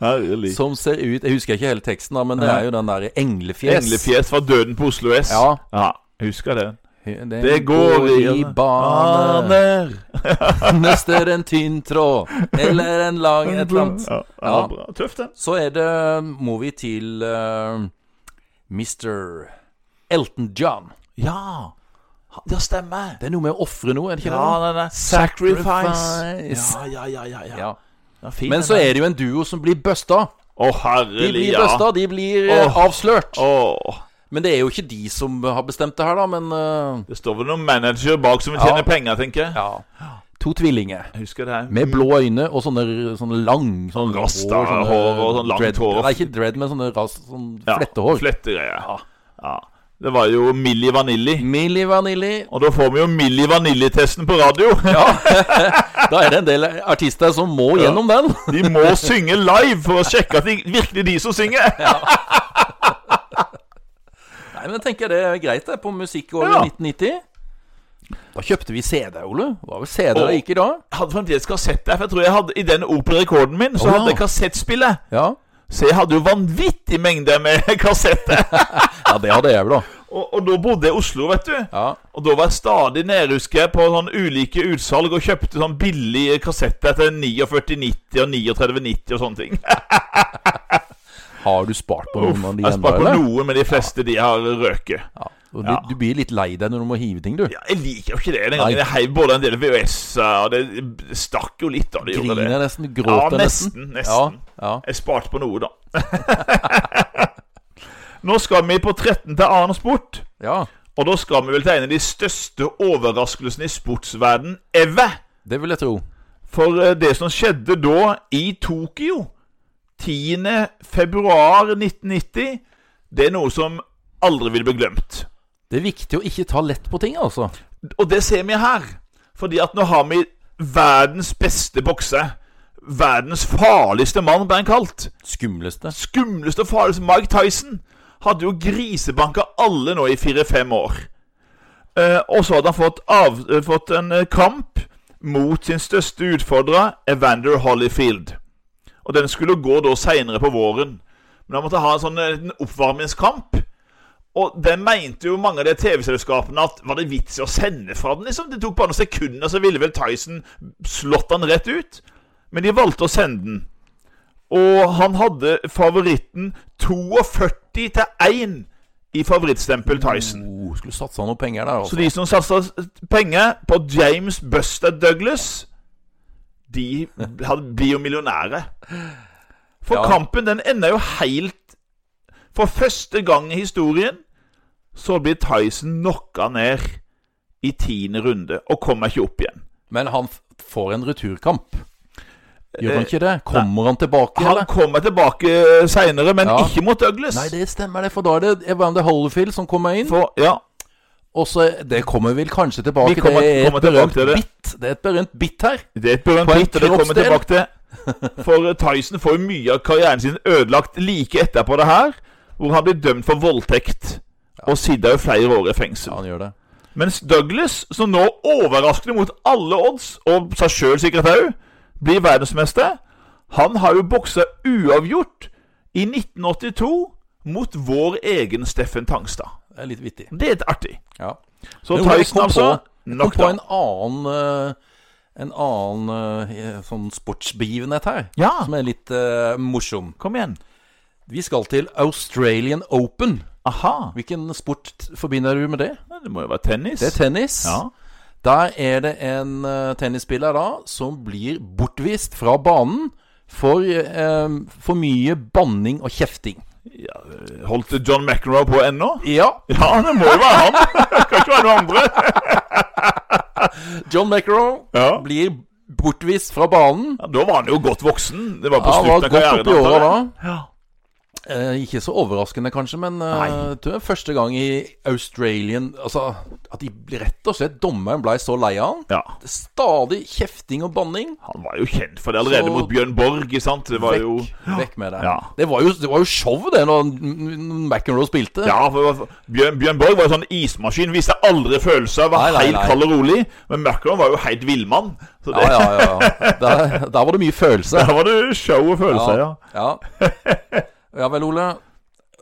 Herlig.
som ser ut Jeg husker ikke hele teksten, da, men det er jo den derre englefjes.
Englefjes fra Døden på Oslo S.
Ja.
ja husker den.
Det,
Det går i
bane
Ah, baner.
Nøster en tynn tråd eller en lang et eller annet.
Ja,
Ja.
ja. Bra. Tøft, den.
Så er det Må vi til eh, Mr. Elton John.
Ja. Ja, stemmer.
Det er noe med å ofre noe, er det ikke
Ja,
det?
nei, nei. Sacrifice.
Sacrifice.
Ja, ja, ja, ja, ja.
Ja.
Ja, fin,
Men
den
så
der.
er det jo en duo som blir busta.
Å,
De
herlig,
blir
ja.
busta, de blir eh,
Åh.
avslørt.
Å,
Men det er jo ikke de som har bestemt det her, da, men eh,
det står vel noen manager bak som vil
Ja.
tjene penger, tenker jeg.
Ja. To tvillinger.
Jeg husker det her.
Med blå øyne og sånne, sånne lang Mm. Sånn
rastahår og sånn langt hår.
Nei, ikke dread, men sånne ras, sånn
Ja,
flettehår.
Flettegreier. Ja. ja. Det var jo Milli Vanilli.
Milli Vanilli.
Og da får vi jo Milli Vanilli-testen på radio.
Da er det en del artister som må gjennom den.
De må synge live for å sjekke at det virkelig er de som synger.
Nei, men jeg tenker det er greit, det, på musikkåret
Ja.
1990. Da kjøpte vi CD, Ole. Det var vel CD det
Å.
gikk i da?
Jeg hadde fremdeles kassett der, for jeg tror jeg hadde i den operarekorden min så
Å, ja.
hadde jeg kassettspillet.
Ja.
Så jeg hadde jo vanvittig mengde med kassetter.
ja, det hadde jeg vel, da.
Og, og da bodde jeg i Oslo, vet du.
Ja.
Og da var jeg stadig nede, husker jeg, på sånn ulike utsalg og kjøpte sånn billige kassetter til 49,90 og 39,90 og sånne ting.
Har du spart på noen av de
Jeg
ennå,
sparte på
eller?
noen, men de fleste de har røket.
Ja. Og Du, du blir litt lei deg når du må hive ting, du.
Ja, jeg liker jo ikke det. Den
Nei.
gangen jeg heiv både en del VHS-er, og det stakk jo litt da det gjorde
Griner
det.
nesten, gråter
Ja,
nesten.
nesten, nesten.
Ja, ja.
Jeg sparte på noe, da. Nå skal vi på 13 til annen sport.
ja,
Og da skal vi vel til en av de største overraskelsene i sportsverden ever.
det vil jeg tro.
For eh, det som skjedde da i Tokyo 10. februar 1990, det er noe som aldri vil bli glemt.
Det er viktig å ikke ta lett på ting, altså.
Og det ser vi her. Fordi at nå har vi verdens beste bokser. Verdens farligste mann, ble han kalt.
Skumleste.
Skumleste og farligste Mike Tyson. Hadde jo grisebanka alle nå i fire-fem år. Eh, og så hadde han fått, av, eh, fått en eh, kamp mot sin største utfordrer, Evander Hollyfield. Og den skulle gå da seinere på våren. Men han måtte ha en sånn eh, liten oppvarmingskamp. Og den mente jo mange av de TV-selskapene at var det vits i å sende fra den, liksom? Det tok bare noen sekunder, så ville vel Tyson slått han rett ut. Men de valgte å sende den. Og han hadde favoritten 42 til 1 i favorittstempel Tyson.
Oh, skulle satsa noe penger der, altså.
Så de som satsa penger på James Buster Douglas, de hadde- blir jo millionære. For
Ja.
kampen den ender jo helt For første gang i historien så blir Tyson knocka ned i tiende runde og kommer ikke opp igjen.
Men han f- får en returkamp. Gjør han
Eh,
ikke det? Kommer han tilbake,
Han
eller?
kommer tilbake seinere, men
Ja.
ikke mot Douglas.
Nei, det stemmer, det. For da er det Evander Holyfield som kommer inn.
For, ja,
Og så Det kommer vel kanskje tilbake.
Vi kommer-
det er
kommer
et berømt
tilbake til det.
bitt. Det er et berømt bitt her.
Det er et berømt
På en
hit, og det kommer vi
kroppsdel.
tilbake til. For Tyson får jo mye av karrieren sin ødelagt like etterpå det her, hvor han blir dømt for voldtekt. Og sitter jo flere år i fengsel.
Ja, han gjør det.
Mens Douglas, som nå overraskende mot alle odds, og seg sjøl sikkert òg, blir verdensmester, han har jo boksa uavgjort i 1982 mot vår egen Steffen Tangstad.
Det er litt vittig.
Det er litt artig.
Ja.
Så
Men hvor jeg
Tyson,
kom
altså.
på- Kom
Nok
på
da.
en annen eh, En annen eh, sånn sportsbegivenhet her,
Ja,
som er litt eh, morsom.
kom igjen.
Vi skal til Australian Open.
Aha.
Hvilken sport t- forbinder du med det?
Det må jo være tennis.
Det er tennis.
ja.
Der er det en eh, tennisspiller da som blir bortvist fra banen for eh, for mye banning og kjefting.
Holdt John McEnroe på ennå?
Ja,
Ja, det må jo være han. Det kan ikke være noen andre.
John McEnroe
Ja.
blir bortvist fra banen.
Ja, da var han jo godt voksen. Det var på
Ja, han
slutten
var
av
godt
karrieren.
oppi åra da.
Ja.
Eh, ikke så overraskende, kanskje, men eh,
Nei.
tror jeg første gang i Australian Altså, at de rett og slett dommeren blei så lei av han.
ja.
Stadig kjefting og banning.
Han var jo kjent for det allerede
Så-
mot Bjørn Borg, ikke sant? Det var
Vekk,
jo
vekk med det.
Ja.
Det, var jo, det var jo show, det, når mm, McEnroe spilte.
ja, for for- Bjørn, Bjørn Borg var en sånn ismaskin. Viste aldri følelser,
Nei,
var
nei,
helt
nei.
kald og rolig. Men McEnroe var jo helt villmann. Så det,
ja, ja. ja, ja. Der, der var det mye følelse.
der var det show og følelser, ja.
ja. Ja vel, Ole.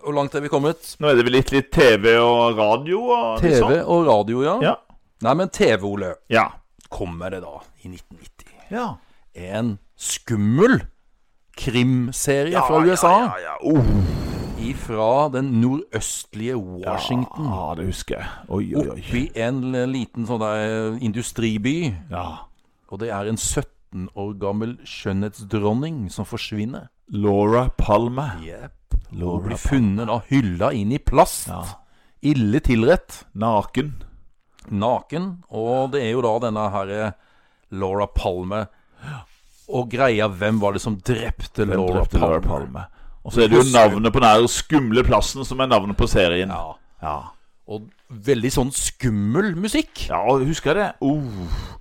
Hvor langt er vi kommet?
Nå er det vel litt, litt TV og radio og litt
TV
sånn.
og radio, ja.
Ja.
Nei, men TV, Ole,
Ja.
kommer det da i 1990.
ja.
En skummel krimserie fra USA.
Ja, ja, ja. Oh.
Ifra den nordøstlige Washington.
Ja, Ah, det husker jeg. Oi, oi, oi.
Oppi en l- liten sånn der industriby.
Ja.
Og det er en 17 år gammel skjønnhetsdronning som forsvinner.
Laura Palmer.
Jepp. Og
Laura
blir funnet da hylla inn i plast.
Ja.
Ille tilrett.
Naken.
Naken. Og det er jo da denne herre Laura Palme. Og greia hvem var det som drepte,
Den
Laura,
drepte
Palme?
Laura Palme. Og så er det jo navnet på den her skumle plassen som er navnet på serien.
Ja.
ja.
Og veldig sånn skummel musikk.
Ja, og husker jeg det? Oh.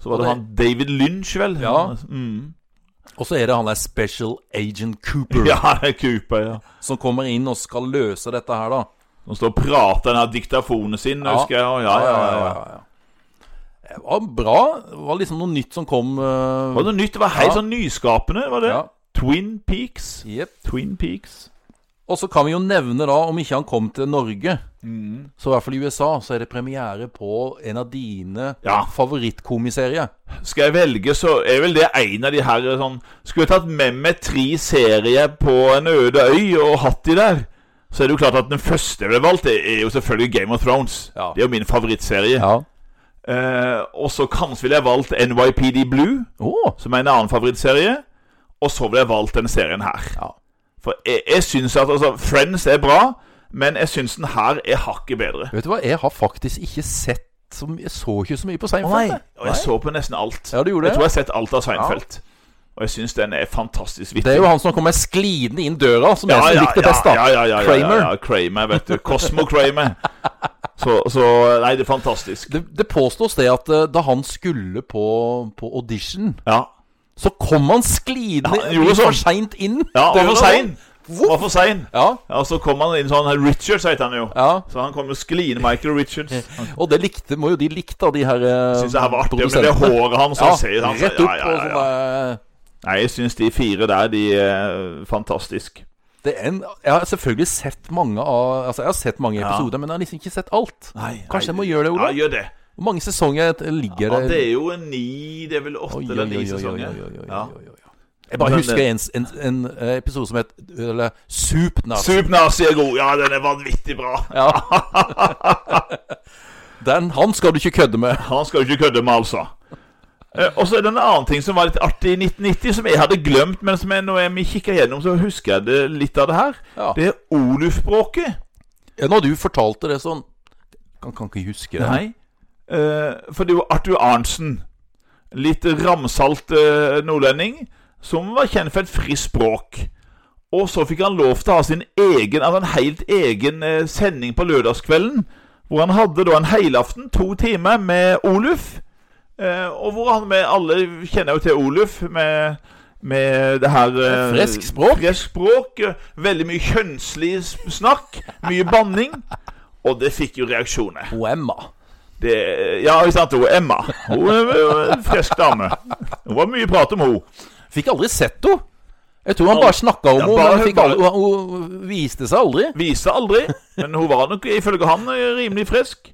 Så var
Og
det
det-
han David Lynch, vel?
Ja.
Mm.
Og så er det han der Special Agent Cooper.
ja Cooper, ja.
som kommer inn og skal løse dette her, da.
Som står og prater den her diktafonen sin, husker jeg. og Ja, ja, ja, ja.
Det var bra. Det var liksom noe nytt som kom. eh,
Var det noe nytt? Det var helt
Ja.
sånn nyskapende, var det?
ja,
Twin Peaks.
jepp.
Twin Peaks.
Og så kan vi jo nevne, da, om ikke han kom til Norge
Mm.
Så i hvert fall i USA så er det premiere på en av dine
Ja.
favorittkomiserier.
skal jeg velge, så er vel det en av de her sånn Skulle jeg tatt med meg tre serier på en øde øy og hatt de der, så er det jo klart at den første jeg ville valgt, det er jo selvfølgelig Game of Thrones.
Ja.
Det er jo min favorittserie. Eh, og så kanskje ville jeg valgt NYPD Blue,
Å,
som er en annen favorittserie. Og så ville jeg valgt denne serien her.
Ja.
For jeg, jeg syns at altså, Friends er bra, men jeg syns den her er hakket bedre.
Vet du hva, jeg har faktisk ikke sett så mye- Jeg så ikke så mye på
Å
Seinfeld. jeg.
Og jeg så på nesten alt.
Ja, du gjorde
Jeg
det?
tror jeg har sett alt av Seinfeld. Og jeg syns den er fantastisk vittig.
Det er jo han som kommer sklidende inn døra, som
Ja,
jeg
ja,
som likte best, da.
ja, ja, ja, ja,
Kramer.
Ja, ja, Kramer, vet du. Cosmo Kramer. Så, så Nei, det er fantastisk.
Det, det påstås det at eh, da han skulle på, på audition,
Ja.
så kom han sklidende
Ja, han gjorde
litt for
sånn.
seint inn.
ja og
døra.
for sein. Var for sein.
Ja,
Ja, så kom han inn sånn her Richards, heter han jo.
ja.
Så han kom jo skliende Michael Richards. Han
Og det likte, må jo de likte, da, de her eh,
syns det her var artig med det
produsentene.
håret hans.
Ja,
han ser- han-
rett opp
ja, ja,
og
ja,
sånn
ja.
eh,
Nei, jeg syns de fire der, de er eh, fantastisk.
det er en, Jeg har selvfølgelig sett mange av Altså, jeg har sett mange episoder, men jeg har liksom ikke sett alt. Kanskje jeg må gjøre det, Ola?
Ja, gjør det.
Hvor mange sesonger ligger
Ja, det
det
er jo en ni Det er vel åtte
Oi,
eller
oi,
ni
oi, oi, oi,
sesonger.
oi, oi, oi,
Ja.
oi, oi. Jeg bare
Men
husker
det-
en, en, en eh, episode som het Eller Supnazi.
Supnazi er god. Ja, den er vanvittig bra.
Ja. Den, han skal du ikke kødde med.
Han skal jo ikke kødde med, altså. Eh, Og så er det en annen ting som var litt artig i 1990, som jeg hadde glemt, men som jeg, når jeg kikker gjennom, så husker jeg det, litt av det her.
Ja.
Det er Oluf-bråket.
Ja, Når du fortalte det sånn Kan, kan ikke huske det.
Nei. Eh, for det var Arthur Arntzen. Litt ramsalt eh, nordlending som var kjent for et friskt språk. Og så fikk han lov til å ha sin egen, altså en helt egen eh, sending på lørdagskvelden. Hvor han hadde da en helaften, to timer, med Oluf. Eh, og hvor han med alle kjenner jo til Oluf med, med det her eh,
Fresk språk.
Fresk språk. eh, Veldig mye kjønnslig s- snakk. Mye banning. Og det fikk jo reaksjoner.
Og Emma.
Det, ja, ikke sant, hun Emma. Hun er jo en frisk dame. Det var mye prat om henne.
Fikk aldri sett henne. Jeg tror han bare snakka om
Ja,
henne,
bare-
men fikk
bare-
aldri, hun, hun viste seg aldri.
Viste aldri, men hun var nok ifølge han rimelig frisk.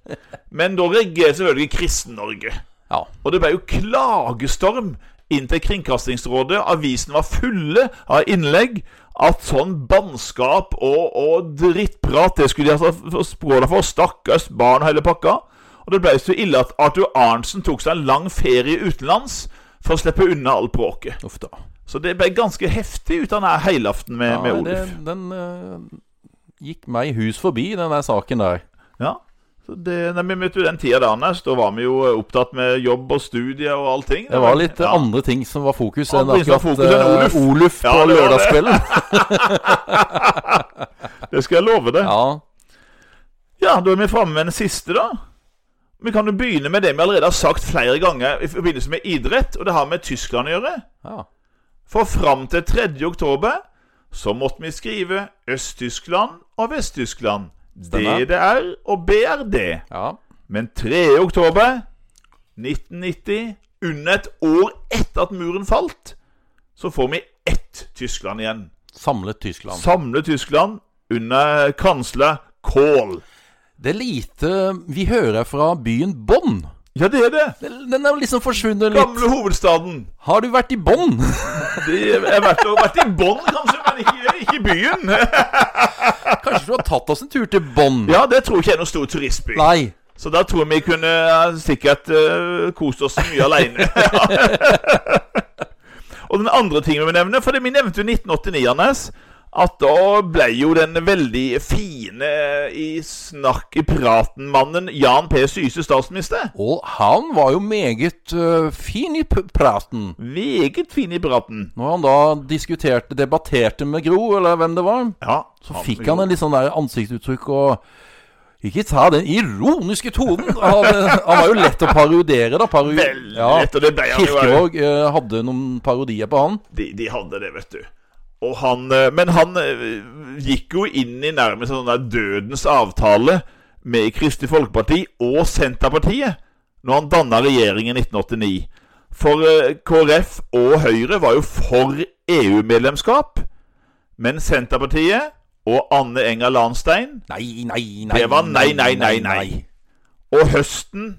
Men da reagerte selvfølgelig Kristen-Norge.
Ja.
Og det ble jo klagestorm inn til Kringkastingsrådet. Avisen var fulle av innlegg. At sånn bannskap og, og drittprat, det skulle de altså språla for. Stakkars barn og hele pakka. Og det ble så ille at Arthur Arntzen tok seg en lang ferie utenlands for å slippe unna alt bråket.
Uff da.
Så det ble ganske heftig ut av denne heilaften med,
Ja,
med
det,
Oluf.
den eh, gikk meg hus forbi, den der saken der.
Ja. Så det, nei, men vet du, den tida der, Anders, da var vi jo eh, opptatt med jobb og studier og allting.
Det var litt eh, andre ting som var fokus enn
Andre ting som var
akkurat
fokus
eh,
enn
Oluf
Oluf. Ja,
på
det var det.
lørdagskvelden.
Det skal jeg love deg. Ja.
Ja.
da er vi framme ved den siste, da. Vi kan jo begynne med det vi allerede har sagt flere ganger i forbindelse med idrett, og det har med Tyskland å gjøre.
ja.
For fram til 3. oktober så måtte vi skrive Øst-Tyskland og Vest-Tyskland.
Stemmer.
DDR og BRD.
ja.
Men 3. oktober 1990, under et år etter at muren falt, så får vi ett Tyskland igjen.
Samlet Tyskland.
Samle Tyskland under kansler Kohl.
Det er lite vi hører fra byen Bonn.
Ja, det er det.
Den den er liksom forsvunnet litt.
Gamle hovedstaden.
Har du vært i Bonn?
Det jeg har vært, jeg har vært i Bonn, kanskje, men ikke, ikke i byen.
Kanskje du har tatt oss en tur til Bonn?
Ja, det tror jeg ikke er noen stor turistby.
Nei.
Så da tror jeg vi kunne eh, sikkert eh, kost oss mye aleine. Og den andre tingen vi må nevne, for det vi nevnte jo 1989, Anders, at da ble jo den veldig fine eh, i snakk i praten-mannen Jan P. Syse statsminister.
Og han var jo meget øh, fin i p praten.
Meget fin i praten.
Når han da diskuterte, debatterte med Gro, eller hvem det var,
Ja,
så fikk han en litt sånn der ansiktsuttrykk og Ikke ta den ironiske tonen! Han, han var jo lett å parodiere, da. Paru
Veldig
ja,
lett, og det ble han jo.
Kirkevåg øh, hadde noen parodier på han.
De, de hadde det, vet du. Og han, eh, men han eh, gikk jo inn i nærmest en sånn der dødens avtale med Kristelig Folkeparti og Senterpartiet når han danna regjering i 1989. For eh, KrF og Høyre var jo for EU-medlemskap. Men Senterpartiet og Anne Enger Lahnstein,
Nei, nei, nei.
det var nei, nei, nei, nei. Og høsten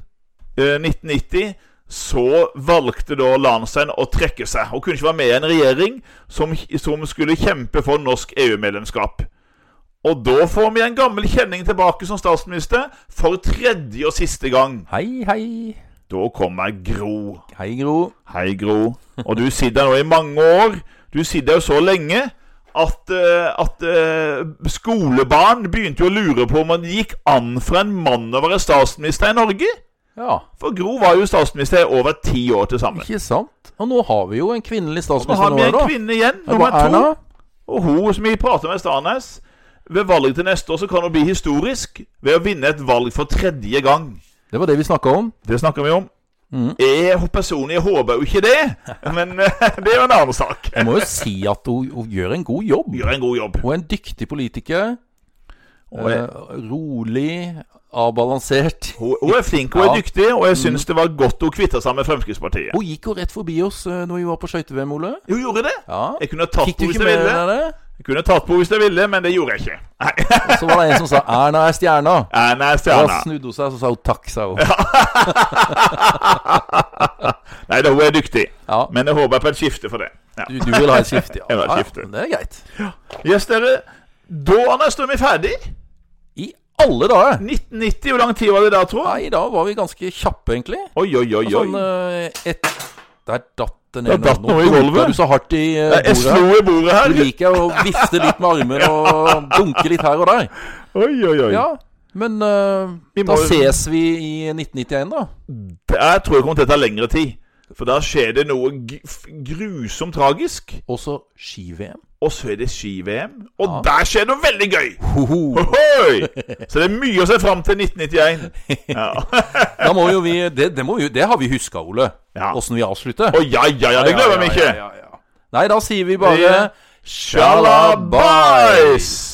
eh, 1990 så valgte da Lahnstein å trekke seg. Og kunne ikke være med i en regjering som, som skulle kjempe for norsk EU-medlemskap. Og da får vi en gammel kjenning tilbake som statsminister for tredje og siste gang.
Hei, hei.
Da kommer Gro.
Hei, Gro.
Hei, Gro. Og du sitter nå i mange år. Du sitter jo så lenge at, eh, at eh, skolebarn begynte jo å lure på om det gikk an for en mann å være statsminister i Norge.
Ja,
For Gro var jo statsminister i over ti år til sammen.
ikke sant? Og nå har vi jo en kvinnelig
Nå har
statsminister
vi
nå,
en
da.
kvinne igjen,
Det var
nummer to.
Erna.
Og hun som vi prater med, Stanes Ved valget til neste år så kan hun bli historisk ved å vinne et valg for tredje gang.
Det var det vi snakka om.
Det snakker vi om.
Mhm.
Jeg hå- personlig håper jo ikke det, men eh, det er jo en annen sak.
Jeg må jo si at hun, hun gjør en god jobb.
Gjør en god jobb.
Hun er en dyktig politiker.
Og jeg-
Eh, rolig, avbalansert.
Hun, hun er flink, hun er
Ja. Mm.
dyktig, og jeg syns det var godt hun kvitta seg med Fremskrittspartiet.
Hun gikk jo rett forbi oss eh, når vi var på skøyte-VM, Ole.
Hun gjorde det!
Ja.
Jeg kunne tatt
Fikk du
på hvis
ikke
jeg
med
ville,
deg det?
Jeg kunne tatt på hvis jeg ville, men det gjorde jeg ikke. Nei,
Så var det en som sa 'Erna er stjerna'.
Erna er
Da
stjerna.
snudde hun seg, så sa hun takk, sa hun.
Nei da, hun er dyktig.
Ja.
Men jeg håper på et skifte for det. Ja.
Du, du vil ha et skifte, ja.
Jeg vil ha et
Ja,
skifte.
men Det er greit.
Yes, dere. Da Anders, da er vi ferdig.
I alle dager!
1990, hvor lang tid var det da, tro?
Nei, da var vi ganske kjappe, egentlig.
Oi, oi, oi. oi.
Sånn eh, et Der datt det ned.
Der datt
Nå
noe i
dunka
gulvet.
Du så hardt i eh,
Jeg
bordet.
slo i bordet her.
Du liker å vifte litt med armen og dunke litt her og der.
Oi, oi, oi.
Ja, men eh,
Vi
da
må-
ses vi i 1991, da.
Jeg tror jeg kommer til å ta lengre tid. For da skjer det noe g- f- grusomt tragisk.
Og så ski-VM.
Og så er det ski-VM, og der skjer det noe veldig gøy!
Hoho.
Ohoi! Så det er mye å se fram til 1991. Ja.
Da må jo vi Det, det, må vi, det har vi huska, Ole.
Ja.
Åssen vi avslutter.
Å ja, ja, ja, det glemmer vi ikke.
Nei, da sier vi bare
Det- Sjalabais!